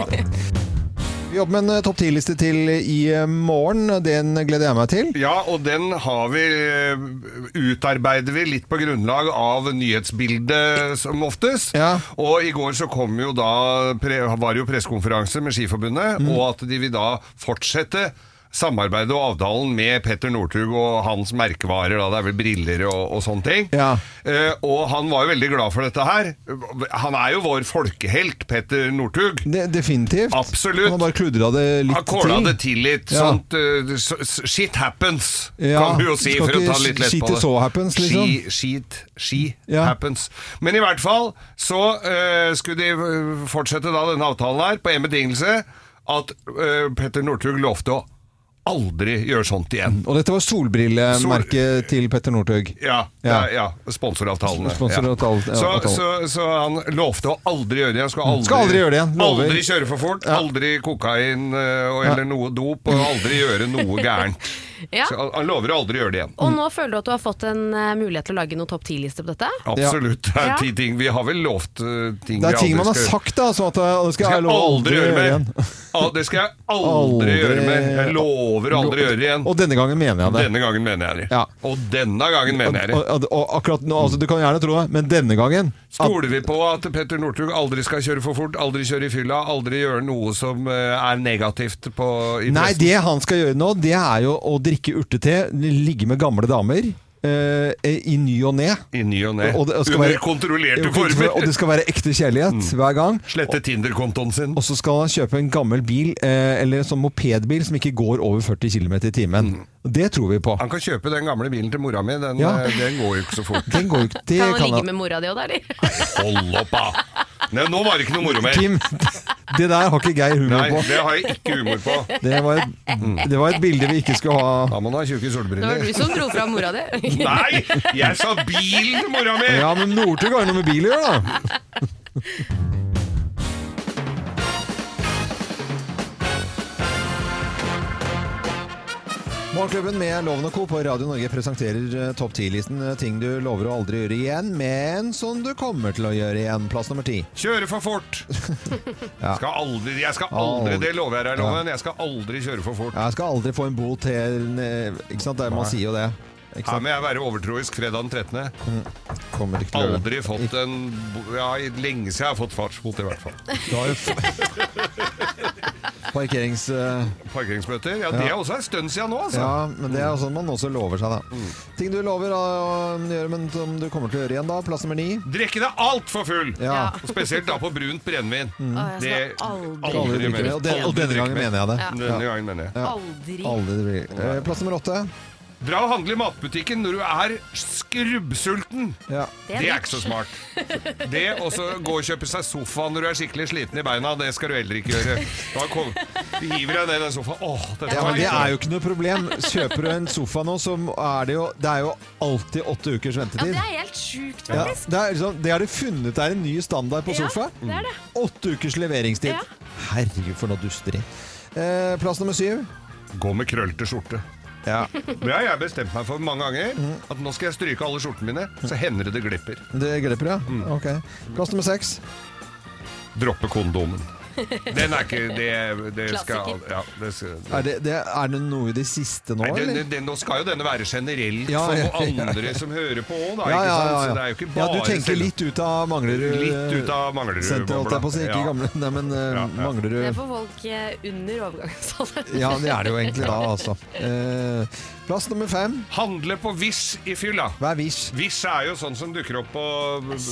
A: Vi jobber med en eh, topp 10-liste til i eh, morgen. Den gleder jeg meg til.
B: Ja, og den har vi, eh, utarbeider vi litt på grunnlag av nyhetsbildet som oftest. Og i går så kom jo da, pre- var det jo pressekonferanse med Skiforbundet, og at de vil da fortsette samarbeidet og avtalen med Petter Northug og hans merkevarer, da, det er vel briller og, og sånne ting. Eh, og han var jo veldig glad for dette her. Han er jo vår folkehelt, Petter Northug.
A: definitivt.
B: Absolutt.
A: Han bare kludra det
B: Han
A: eh, litt
B: kåla det til litt.
A: Ja.
B: Sånt, eh, s- s- shit happens,
A: Ja,
B: kan vi jo si.
A: skal
B: For å
A: ikke
B: ta litt lett
A: shit
B: på
A: it
B: det.
A: so happens, liksom.
B: She, shit, she happens. Men i hvert fall så eh, skulle de eh, fortsette da denne avtalen her på en betingelse. At eh, Petter Northug lovte å aldri gjøre sånt igjen.
A: Og dette var solbrillemerket til Petter Northug.
B: Ja,
A: Ja.
B: ja. ja sponsoravtalene.
A: Sponsoravtal-
B: ja. så,
A: avtalen.
B: så, så han lovte å aldri gjøre det igjen. Skal aldri,
A: Skal aldri gjøre det igjen, lover.
B: Aldri kjøre for fort, aldri kokain eh, og, eller noe dop, og aldri gjøre noe gærent.
C: Ja.
B: Så han- han lover å aldri gjøre det igjen.
C: Og nå føler du at du har fått en eh, mulighet til å lage noen topp ti-liste på dette?
B: Absolutt. Det er
C: Ja.
B: ti ting. Vi har vel lovt eh, ting
A: Det er
B: vi
A: ting
B: aldri
A: man har
B: skal-
A: sagt, da. Sånn at eh, det skal jeg love å aldri gjøre mer. igjen.
B: Al- Det skal jeg aldri, gjøre mer. Jeg lover å aldri gjøre det igjen.
A: Og denne gangen mener jeg det.
B: Denne gangen mener jeg det. Og denne gangen mener jeg det.
A: Og, og, og akkurat nå, altså, Du kan gjerne tro det, men denne gangen
B: Stoler vi på at Petter Northug aldri skal kjøre for fort, aldri kjøre i fylla, aldri gjøre noe som eh, er negativt på i
A: Nei,
B: pressen?
A: det han skal gjøre nå, det er jo å drikke urtete, ligge med gamle damer. eh, I ny og ne.
B: I ny og ne.
A: Og det- og skal
B: Under
A: være-
B: kontrollerte
A: Jo, kontroll-
B: former. Mm.
A: Og det skal være ekte kjærlighet hver gang.
B: Slette Tinder-kontoen sin.
A: Og så skal han kjøpe en gammel bil, eh, eller en sånn mopedbil som ikke går over 40 km i timen. Det tror vi på.
B: Mm. Han kan kjøpe den gamle bilen til mora mi, den,
A: Ja.
B: eh, den går jo ikke så fort.
A: Den går jo ikke det
C: Kan han
A: kan
C: ligge
A: han-
C: med mora di òg, da, eller?
B: Hold opp, da! Nei, nå var det ikke noe moro mer.
A: Kim, det der har ikke Geir humor
B: Nei, Mm.
A: på.
B: det har jeg ikke humor på.
A: Det var, et, det var et bilde vi ikke skulle ha.
B: Da må du ha tjukke
C: Det var du som dro fra mora di.
B: Nei, jeg sa bilen til mora mi!
A: Ja, men Northug har jo noe med bil å gjøre, da. Morgenklubben med Loven og Co. på Radio Norge presenterer eh, topp 10-listen eh, ting du lover å aldri gjøre igjen, men som du kommer til å gjøre igjen. Plass nummer ti.
B: Kjøre for fort!
A: Ja.
B: Skal aldri, jeg skal aldri,
A: Aldri.
B: det lover jeg deg,
A: Ja.
B: Loven. Jeg skal aldri kjøre for fort.
A: Jeg skal aldri få en bot til eh, Ikke sant, Det- man
B: Nei.
A: sier jo det. Ikke
B: Her
A: sant?
B: må jeg være overtroisk fredag den 13.
A: Mm. Kommer ikke til å gjøre det.
B: Aldri fått en bo- Ja, i- lenge siden jeg har fått fartsbot, i hvert fall.
A: Du har jo f- parkerings... eh,
B: Parkeringsbøter? Ja, det
A: Ja.
B: er også en stund siden nå, altså.
A: Ja, men det er jo sånn man også lover seg, da.
B: Mm.
A: Ting du lover å gjøre, men som du kommer til å gjøre igjen, da. Plass nummer ni.
B: Drikke deg altfor full!
A: Ja. Mm.
B: Og Spesielt da på brunt brennevin.
A: Å,
B: Det
A: jeg
B: aldri,
A: Aldri drikke
B: mer.
A: mer. Og, den, og
B: Aldri
A: denne gangen
B: drikke mer.
A: mener jeg det.
B: Denne gangen mener jeg.
A: Aldri. Aldri drikke. Eh, Plass nummer åtte.
B: Dra og handle i matbutikken når du er skrubbsulten!
A: Ja.
B: Det er ikke så smart. Det å så gå og kjøpe seg sofa når du er skikkelig sliten i beina, det skal du heller ikke gjøre. Da kom, hiver deg ned i den sofaen. Åh, dette
A: Ja,
B: var
A: men Det
B: litt-
A: er jo ikke noe problem. Kjøper du en sofa nå, så er det jo Det er jo alltid åtte ukers
C: Ja,
A: ventetid.
C: det er helt sjukt,
A: Ja,
C: faktisk.
A: det, er liksom, det har de funnet er en ny standard på
C: Ja,
A: sofa.
C: det er det.
A: Åtte ukers leveringstid.
C: Ja.
A: Herregud, for noe dusteri. Eh, plass nummer syv.
B: Gå med krøllete skjorte.
A: Ja.
B: Det har jeg bestemt meg for mange ganger. At nå skal jeg stryke alle skjortene mine, så hender det det glipper.
A: Det glipper, ja?
B: Mm.
A: Ok. Plass nummer seks.
B: Droppe kondomen. Den er ikke Det, det skal
A: Klassiker.
B: ja, det skal,
A: Er det, det, er det noe i det siste nå,
B: Nei, den,
A: eller?
B: den, den, nå skal jo denne være generell
A: Ja,
B: for
A: ja, ja, ja.
B: andre som hører på òg, da.
A: Ja,
B: ikke
A: ja,
B: sant?
A: ja,
B: Så det
A: ja.
B: er jo ikke
A: ja,
B: bare
A: du tenker
B: selv-
A: litt ut av Manglerud
B: Litt ut av Manglerud,
A: Senter, holdt jeg på å si. Ikke
B: ja.
A: gamle, nei, men eh,
C: Det er
A: Manglerud
C: for folk eh, under overgangsalderen.
A: Ja, det er det jo egentlig da, altså. Eh, plass nummer fem.
B: Handle på Vish i fylla.
A: Hva er Vish?
B: Vish er jo sånn som dukker opp på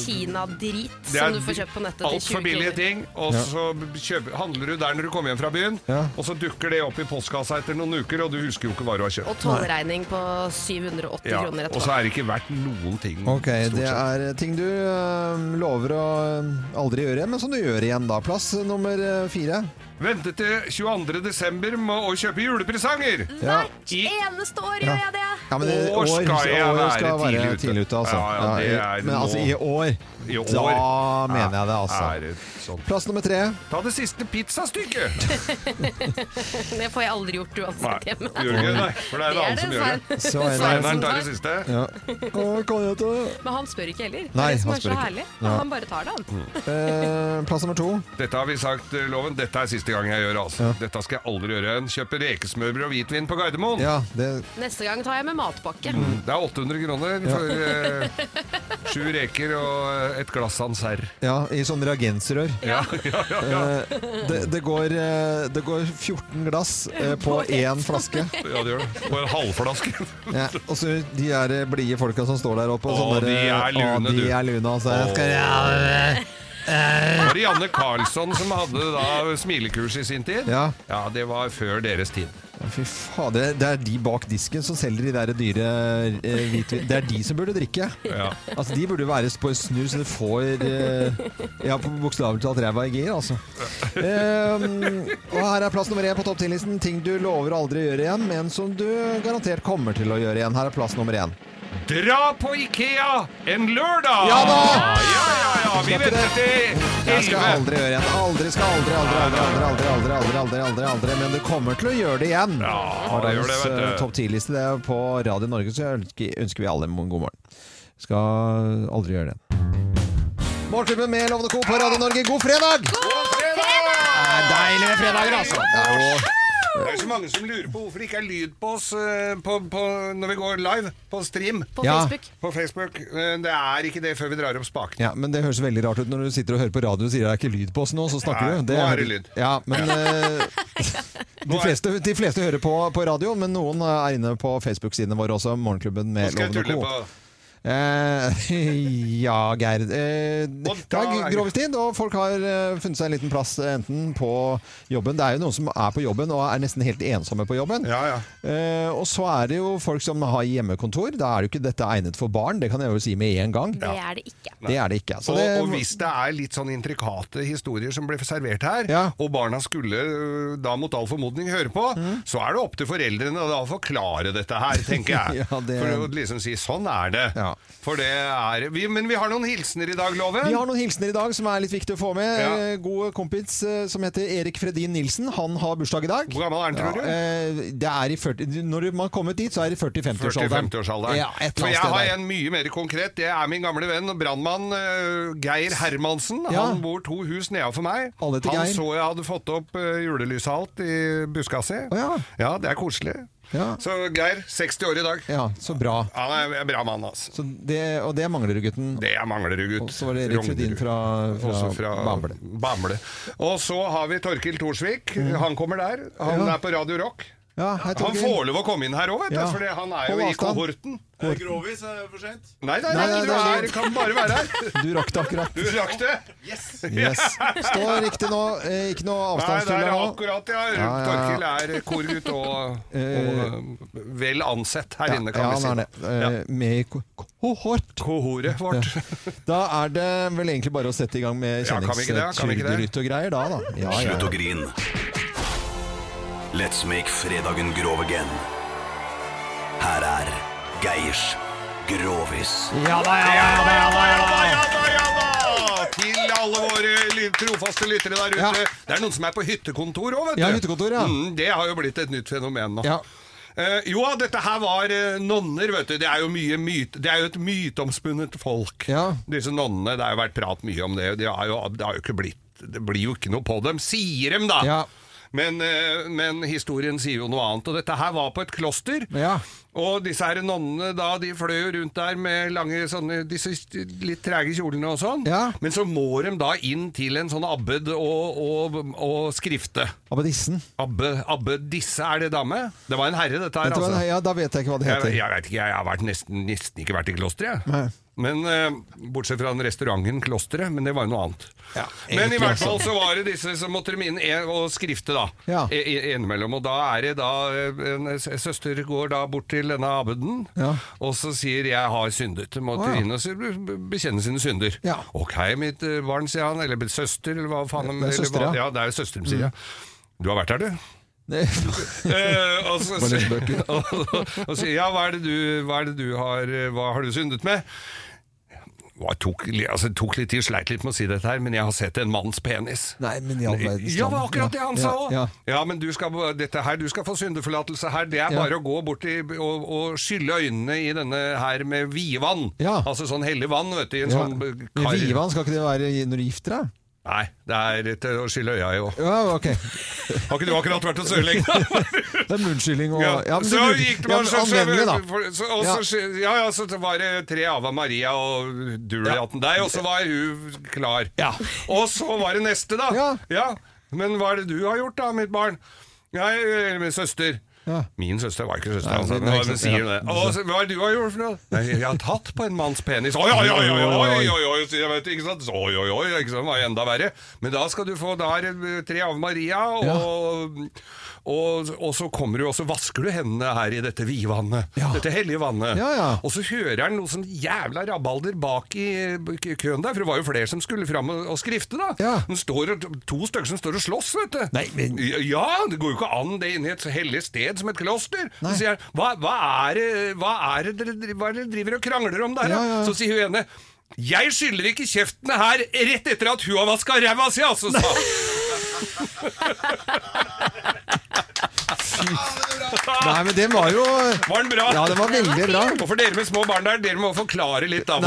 C: Kina-drit
B: Det er
C: som du får kjøpt på nettet til 20
B: Altfor billige
C: kroner.
B: ting. Og
A: Ja.
B: så kjøper, handler du der når du kommer hjem fra byen, og så dukker det opp i postkassa etter noen uker, og du husker jo ikke hva du har kjøpt.
C: Og tollregning på 780
B: Ja,
C: kroner
B: og så er det ikke verdt noen ting.
A: Ok, det er ting du eh, lover å eh, aldri gjøre igjen, men som du gjør igjen da. Plass nummer eh, fire.
B: Vente til 22. desember med å kjøpe julepresanger!
A: Ja.
B: I
C: Eneste år gjør jeg det!
A: Ja, men det-
B: år skal jeg være,
A: skal
B: tidlig ute.
A: tidlig ute, altså.
B: Ja, ja, det
A: Ja, i-
B: er
A: men
B: nå.
A: altså, i år,
B: I år.
A: Da mener jeg det, altså.
B: Er det sånn.
A: Plass nummer tre.
B: Ta det siste pizzastykket!
C: Det får jeg aldri gjort uansett hjemme.
B: Gjør du ikke det? Nei, for det er en annen som gjør det.
C: Svein- Sveinsen
B: Sveineren tar det
C: tar.
B: siste.
A: Ja. Å, kan jeg ta-
C: Men han spør ikke heller. det
A: Nei,
C: er det som
A: han
C: er så
A: spør ikke.
C: herlig.
A: Ja.
C: Han bare tar det, han.
A: Eh, plass nummer to.
B: Dette har vi sagt, eh, Loven. Dette er siste neste gang jeg gjør, altså. Dette skal jeg aldri gjøre igjen. Kjøpe rekesmørbrød og hvitvin på Gardermoen.
A: Ja, det...
C: Neste gang tar jeg med matpakke.
B: er 800 kroner for eh, sju reker og eh, et glass ansær.
A: Ja, i sånn reagensrør.
B: Ja, ja, ja, ja.
A: Eh, Det, det, går, eh, det går 14 glass eh, på én flaske.
B: Ja, det gjør det. Og en halvflaske.
A: Ja, og så de er eh, blide folka som står der oppe. og
B: Å,
A: sånn der,
B: de
A: eh,
B: er lune,
A: å, de
B: du.
A: Er lune altså. Jeg skal,
B: Det var det Janne Karlsson som hadde da smilekurs i sin tid.
A: Ja.
B: det var før deres tid.
A: Ja, Fy faen, det, det er de bak disken som selger de der dyre eh, hvitvin. Det er de som burde drikke.
B: Ja.
A: Altså, De burde være på snurr så de får eh, Ja, på bokstavelig talt ræva i gir, altså. Ehm, og her er plass nummer én på topp 10-listen. Ting du lover å aldri gjøre igjen, men som du garantert kommer til å gjøre igjen. Her er plass nummer én.
B: Dra på Ikea en lørdag!
A: Ja da!
B: Ja, ja, ja, vi venter til
A: Jeg skal
B: 11.
A: aldri gjøre igjen. Aldri, skal aldri, aldri, aldri, aldri, aldri, aldri, aldri, aldri, aldri. Men du kommer til å gjøre det igjen. Ja,
B: det gjør det, vet du.
A: eh, Topp 10-liste det er på Radio Norge, så ønsker, ønsker vi alle en god morgen. Skal aldri gjøre det igjen. Morgenklubben med Lovende Co. på Radio Norge, god fredag! Det er deilig med fredager, altså. Det er jo
B: Det er så mange som lurer på hvorfor det ikke er lyd på oss eh, på, på, når vi går live på stream.
A: På Ja. Facebook.
B: På Facebook. Eh, Det er ikke det før vi drar opp spaken.
A: Ja, men Det høres veldig rart ut når du sitter og hører på radio og sier det er ikke lyd på oss nå, så snakker
B: Nei,
A: du.
B: nå er det lyd.
A: Ja, men eh, de, fleste, de fleste hører på, på radio, men noen er inne på Facebook-sidene våre også, Morgenklubben
B: Nå
A: med
B: skal jeg
A: Loven
B: tulle
A: og
B: på.
A: Co. Eh, ja, Gerd. Eh, det er grovestid, og folk har eh, funnet seg en liten plass eh, enten på jobben Det er jo noen som er på jobben og er nesten helt ensomme på jobben. Eh, og så er det jo folk som har hjemmekontor. Da er det jo ikke dette egnet for barn, det kan jeg jo si med en gang.
C: Det er det ikke.
A: Det er det ikke. Så
B: og,
A: det,
B: og hvis det er litt sånn intrikate historier som ble servert her, og barna skulle øh, da mot all formodning høre på,
A: Mm.
B: så er det opp til foreldrene da å forklare dette her, tenker jeg.
A: Ja, det-
B: For å liksom si sånn er det. For det er vi, Men vi har noen hilsener i dag, Loven.
A: Vi har noen hilsener i dag som er litt viktig å få med.
B: Ja.
A: Eh, God kompis eh, som heter Erik Fredin Nilsen. Han har bursdag i dag. Hvor
B: gammel er han, tror
A: du? Det er i 40, når man har kommet dit, så er det i 40-50-årsalderen.
B: 40-50-årsalderen.
A: Ja, et
B: For
A: eller
B: jeg har
A: annet sted der.
B: en mye mer konkret. Det er min gamle venn og brannmann eh, Geir Hermansen.
A: Ja.
B: Han bor to hus nedenfor meg.
A: Alle heter
B: Han
A: Geir.
B: så jeg hadde fått opp eh, julelyset og alt i buska si.
A: ja.
B: det er koselig. Så Geir, 60 år i dag.
A: Ja, så bra.
B: Han er en bra mann, altså.
A: Så det, og det er Manglerudgutten.
B: Det er Manglerudgutt.
A: Og så var det Erik
B: Rognrud.
A: Fredin fra, fra,
B: Også fra
A: Bamble.
B: Bamble. Og så har vi Torkil Thorsvik. Han kommer der.
A: Mm.
B: Han
A: Ja.
B: er på Radio Rock.
A: Ja, hei,
B: Han
A: Torgeir.
B: får lov å komme inn her òg, vet du.
A: Ja.
B: For han er
A: Hold
B: jo i
A: avstand.
B: kohorten.
A: Er det
B: grovis? Er det for seint? Nei, nei, nei,
A: Nei, nei,
B: du
A: nei,
B: er,
A: nei.
B: kan bare være her.
A: Du rakk det akkurat.
B: Du rakk det. Yes.
A: Yes. Står riktig nå. eh, Ikke noe
B: Nei, det
A: avstandstull
B: er
A: her nå.
B: akkurat, ja.
A: Ja, ja,
B: Torkil
A: ja.
B: er korgutt og, og
A: Eh,
B: eh, vel ansett her inne, kan
A: ja,
B: vi si.
A: han er det. Eh, Med i ko- kohort.
B: Kohoret vårt.
A: Da er det vel egentlig bare å sette i gang med
B: Ja, kan vi ikke det? Kan vi ikke det?
A: kjenningsturderytt og greier da, da. Ja, ja,
L: Slutt
A: ja.
L: å grine. Let's make fredagen grov again. Her er Geirs Grovis.
A: Ja da, ja da, ja da, ja da, ja da, ja
B: da, ja da! Til alle våre ly- trofaste lyttere der ute. Det er noen som er på hyttekontor òg, vet du.
A: Ja, hyttekontor, ja.
B: Mm, det har jo blitt et nytt fenomen nå.
A: Ja.
B: Eh, jo, dette her var eh, nonner, vet du. Det er jo, mye myt, det er jo et myteomspunnet folk. Disse nonnene, det har jo vært prat mye om det. og Det har jo, det har jo ikke blitt Det blir jo ikke noe på dem, sier dem, da! Men, eh, men historien sier jo noe annet. Og dette her var på et kloster. Og disse her nonnene da, de fløy jo rundt der med lange sånne, disse litt trege kjolene og sånn. Men så må de da inn til en sånn abbed og, og, og skrifte.
A: Abbedissen.
B: Abbe, abbedisse, er det dame? Det var en herre, dette her. altså.
A: Dette var- ja, da vet jeg ikke hva det heter.
B: Jeg, jeg vet ikke, jeg har vært nesten, nesten ikke vært i klosteret, jeg.
A: Nei.
B: Men eh, Bortsett fra den restauranten Klosteret, men det var jo noe annet. men
A: egentlig
B: i hvert fall
A: også.
B: så var det disse som måtte dem inn e- og skrifte, da.
A: Ja.
B: E e- innimellom. Og da er det da eh, en s- søster går da bort til denne abbeden,
A: Ja.
B: og så sier 'jeg har syndet'. Du måtte
A: Å, ja.
B: inn og s- b- bekjenne sine synder.
A: Ja.
B: 'Ok, mitt eh, barn', sier han, eller søster, eller hva faen
A: Det er
B: eller
A: søster, ja.
B: hva-
A: Mm.
B: ja. Det er jo søsteren, sier jeg. Du har vært her, du? Eh, og så
A: Bare litt
B: sier og, og sier, ja, hva er det du, hva er det du har, eh, hva har du syndet med? Hva, tok, li- altså, det tok litt tid, sleit litt med å si dette her, men jeg har sett en manns penis.
A: Nei, men i all verdens
B: Ja, det var
A: land.
B: akkurat det
A: Ja,
B: han
A: ja,
B: sa òg! Ja,
A: ja.
B: men du skal, dette her, du skal få syndeforlatelse her. Det er
A: Ja.
B: bare å gå bort i, og, og skylle øynene i denne her med vievann. Altså sånn hellig vann, vet du. I en
A: Ja.
B: sånn kar.
A: Vivan, skal ikke det være når du gifter deg?
B: Nei, det er til å skylle øya i òg.
A: Ja, ok.
B: Har ikke du akkurat vært hos Sørlenga?
A: Det er munnskylding og ja, men
B: så
A: du-
B: gikk det
A: ja,
B: bare
A: men
B: så, så,
A: anvendelig, da.
B: for- så, og
A: Ja.
B: så, sky- ja, ja, så var det tre Ava Maria og Duriaten deg, og så var hun klar. Og så var det neste, da. Ja. Men hva er det du har gjort, da, mitt barn? Jeg, eller min søster. Min søster var ikke søster,
A: Nei,
B: altså.
A: men-
B: Nå,
A: ikke
B: men
A: sant,
B: sier hun
A: ja.
B: det. Og så, hva er det du har gjort for noe? Nei, jeg har tatt på en manns penis. Oi, oi, oi, oi, oi, oi, oi, oi, sier jeg, vet du, ikke sant? Oi, oi, oi, ikke sant? Det var jo enda verre. Men da skal du få der eh, tre av Maria, og, og, og så kommer du, og så vasker du hendene her i dette vidvannet. Dette hellige vannet. Og så hører han noe sånn jævla rabalder bak i eh, køen der, for det var jo flere som skulle fram og, og skrifte da. Den står, og- to stykker som står og slåss, vet du. Ja, det går jo ikke an det inne i et så hellig sted som et kloster. Så sier han, hva, hva, er det, hva er det dere dri- hva er det dere driver og krangler om der? da?» Så sier hun ene, jeg skyller ikke kjeftene her rett etter at hun har vaska ræva si, altså, sa han.
A: Nei, men den var jo
B: Var den bra?
A: Ja, den var veldig bra.
B: Og for dere med små barn der, dere må forklare litt da.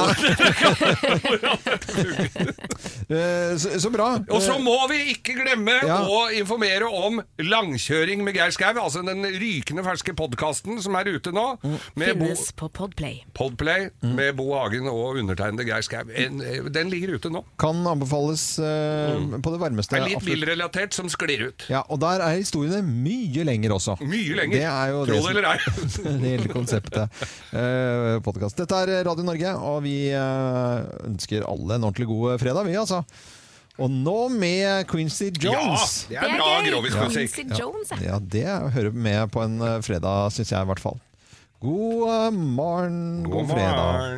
A: Eh, Så, så bra.
B: Og så må vi ikke glemme
A: Ja.
B: å informere om Langkjøring med Geir Skau, altså den rykende ferske podkasten som er ute nå.
A: Mm.
B: med Bo-
C: Finnes på Podplay.
B: Podplay med Bo Hagen og undertegnede Geir Skau. En- eh, Den ligger ute nå.
A: Kan anbefales eh, på det varmeste.
B: Mm. Det er litt
A: absolutt.
B: bilrelatert som sklir ut.
A: Ja, og der er historiene mye lenger også.
B: Mye lenger.
A: Det er jo
B: Tro
A: det,
B: det eller ei.
A: som, det hele konseptet. Uh, podcast. Dette er Radio Norge, og vi eh, ønsker alle en ordentlig god fredag, vi altså. Og nå med Quincy Jones.
B: Ja, det er Det er bra gøy. grovismusikk. Quincy
A: Ja.
B: Jones,
A: Ja, det hører med på en eh, fredag, syns jeg i hvert fall. God eh, morgen, god, fredag.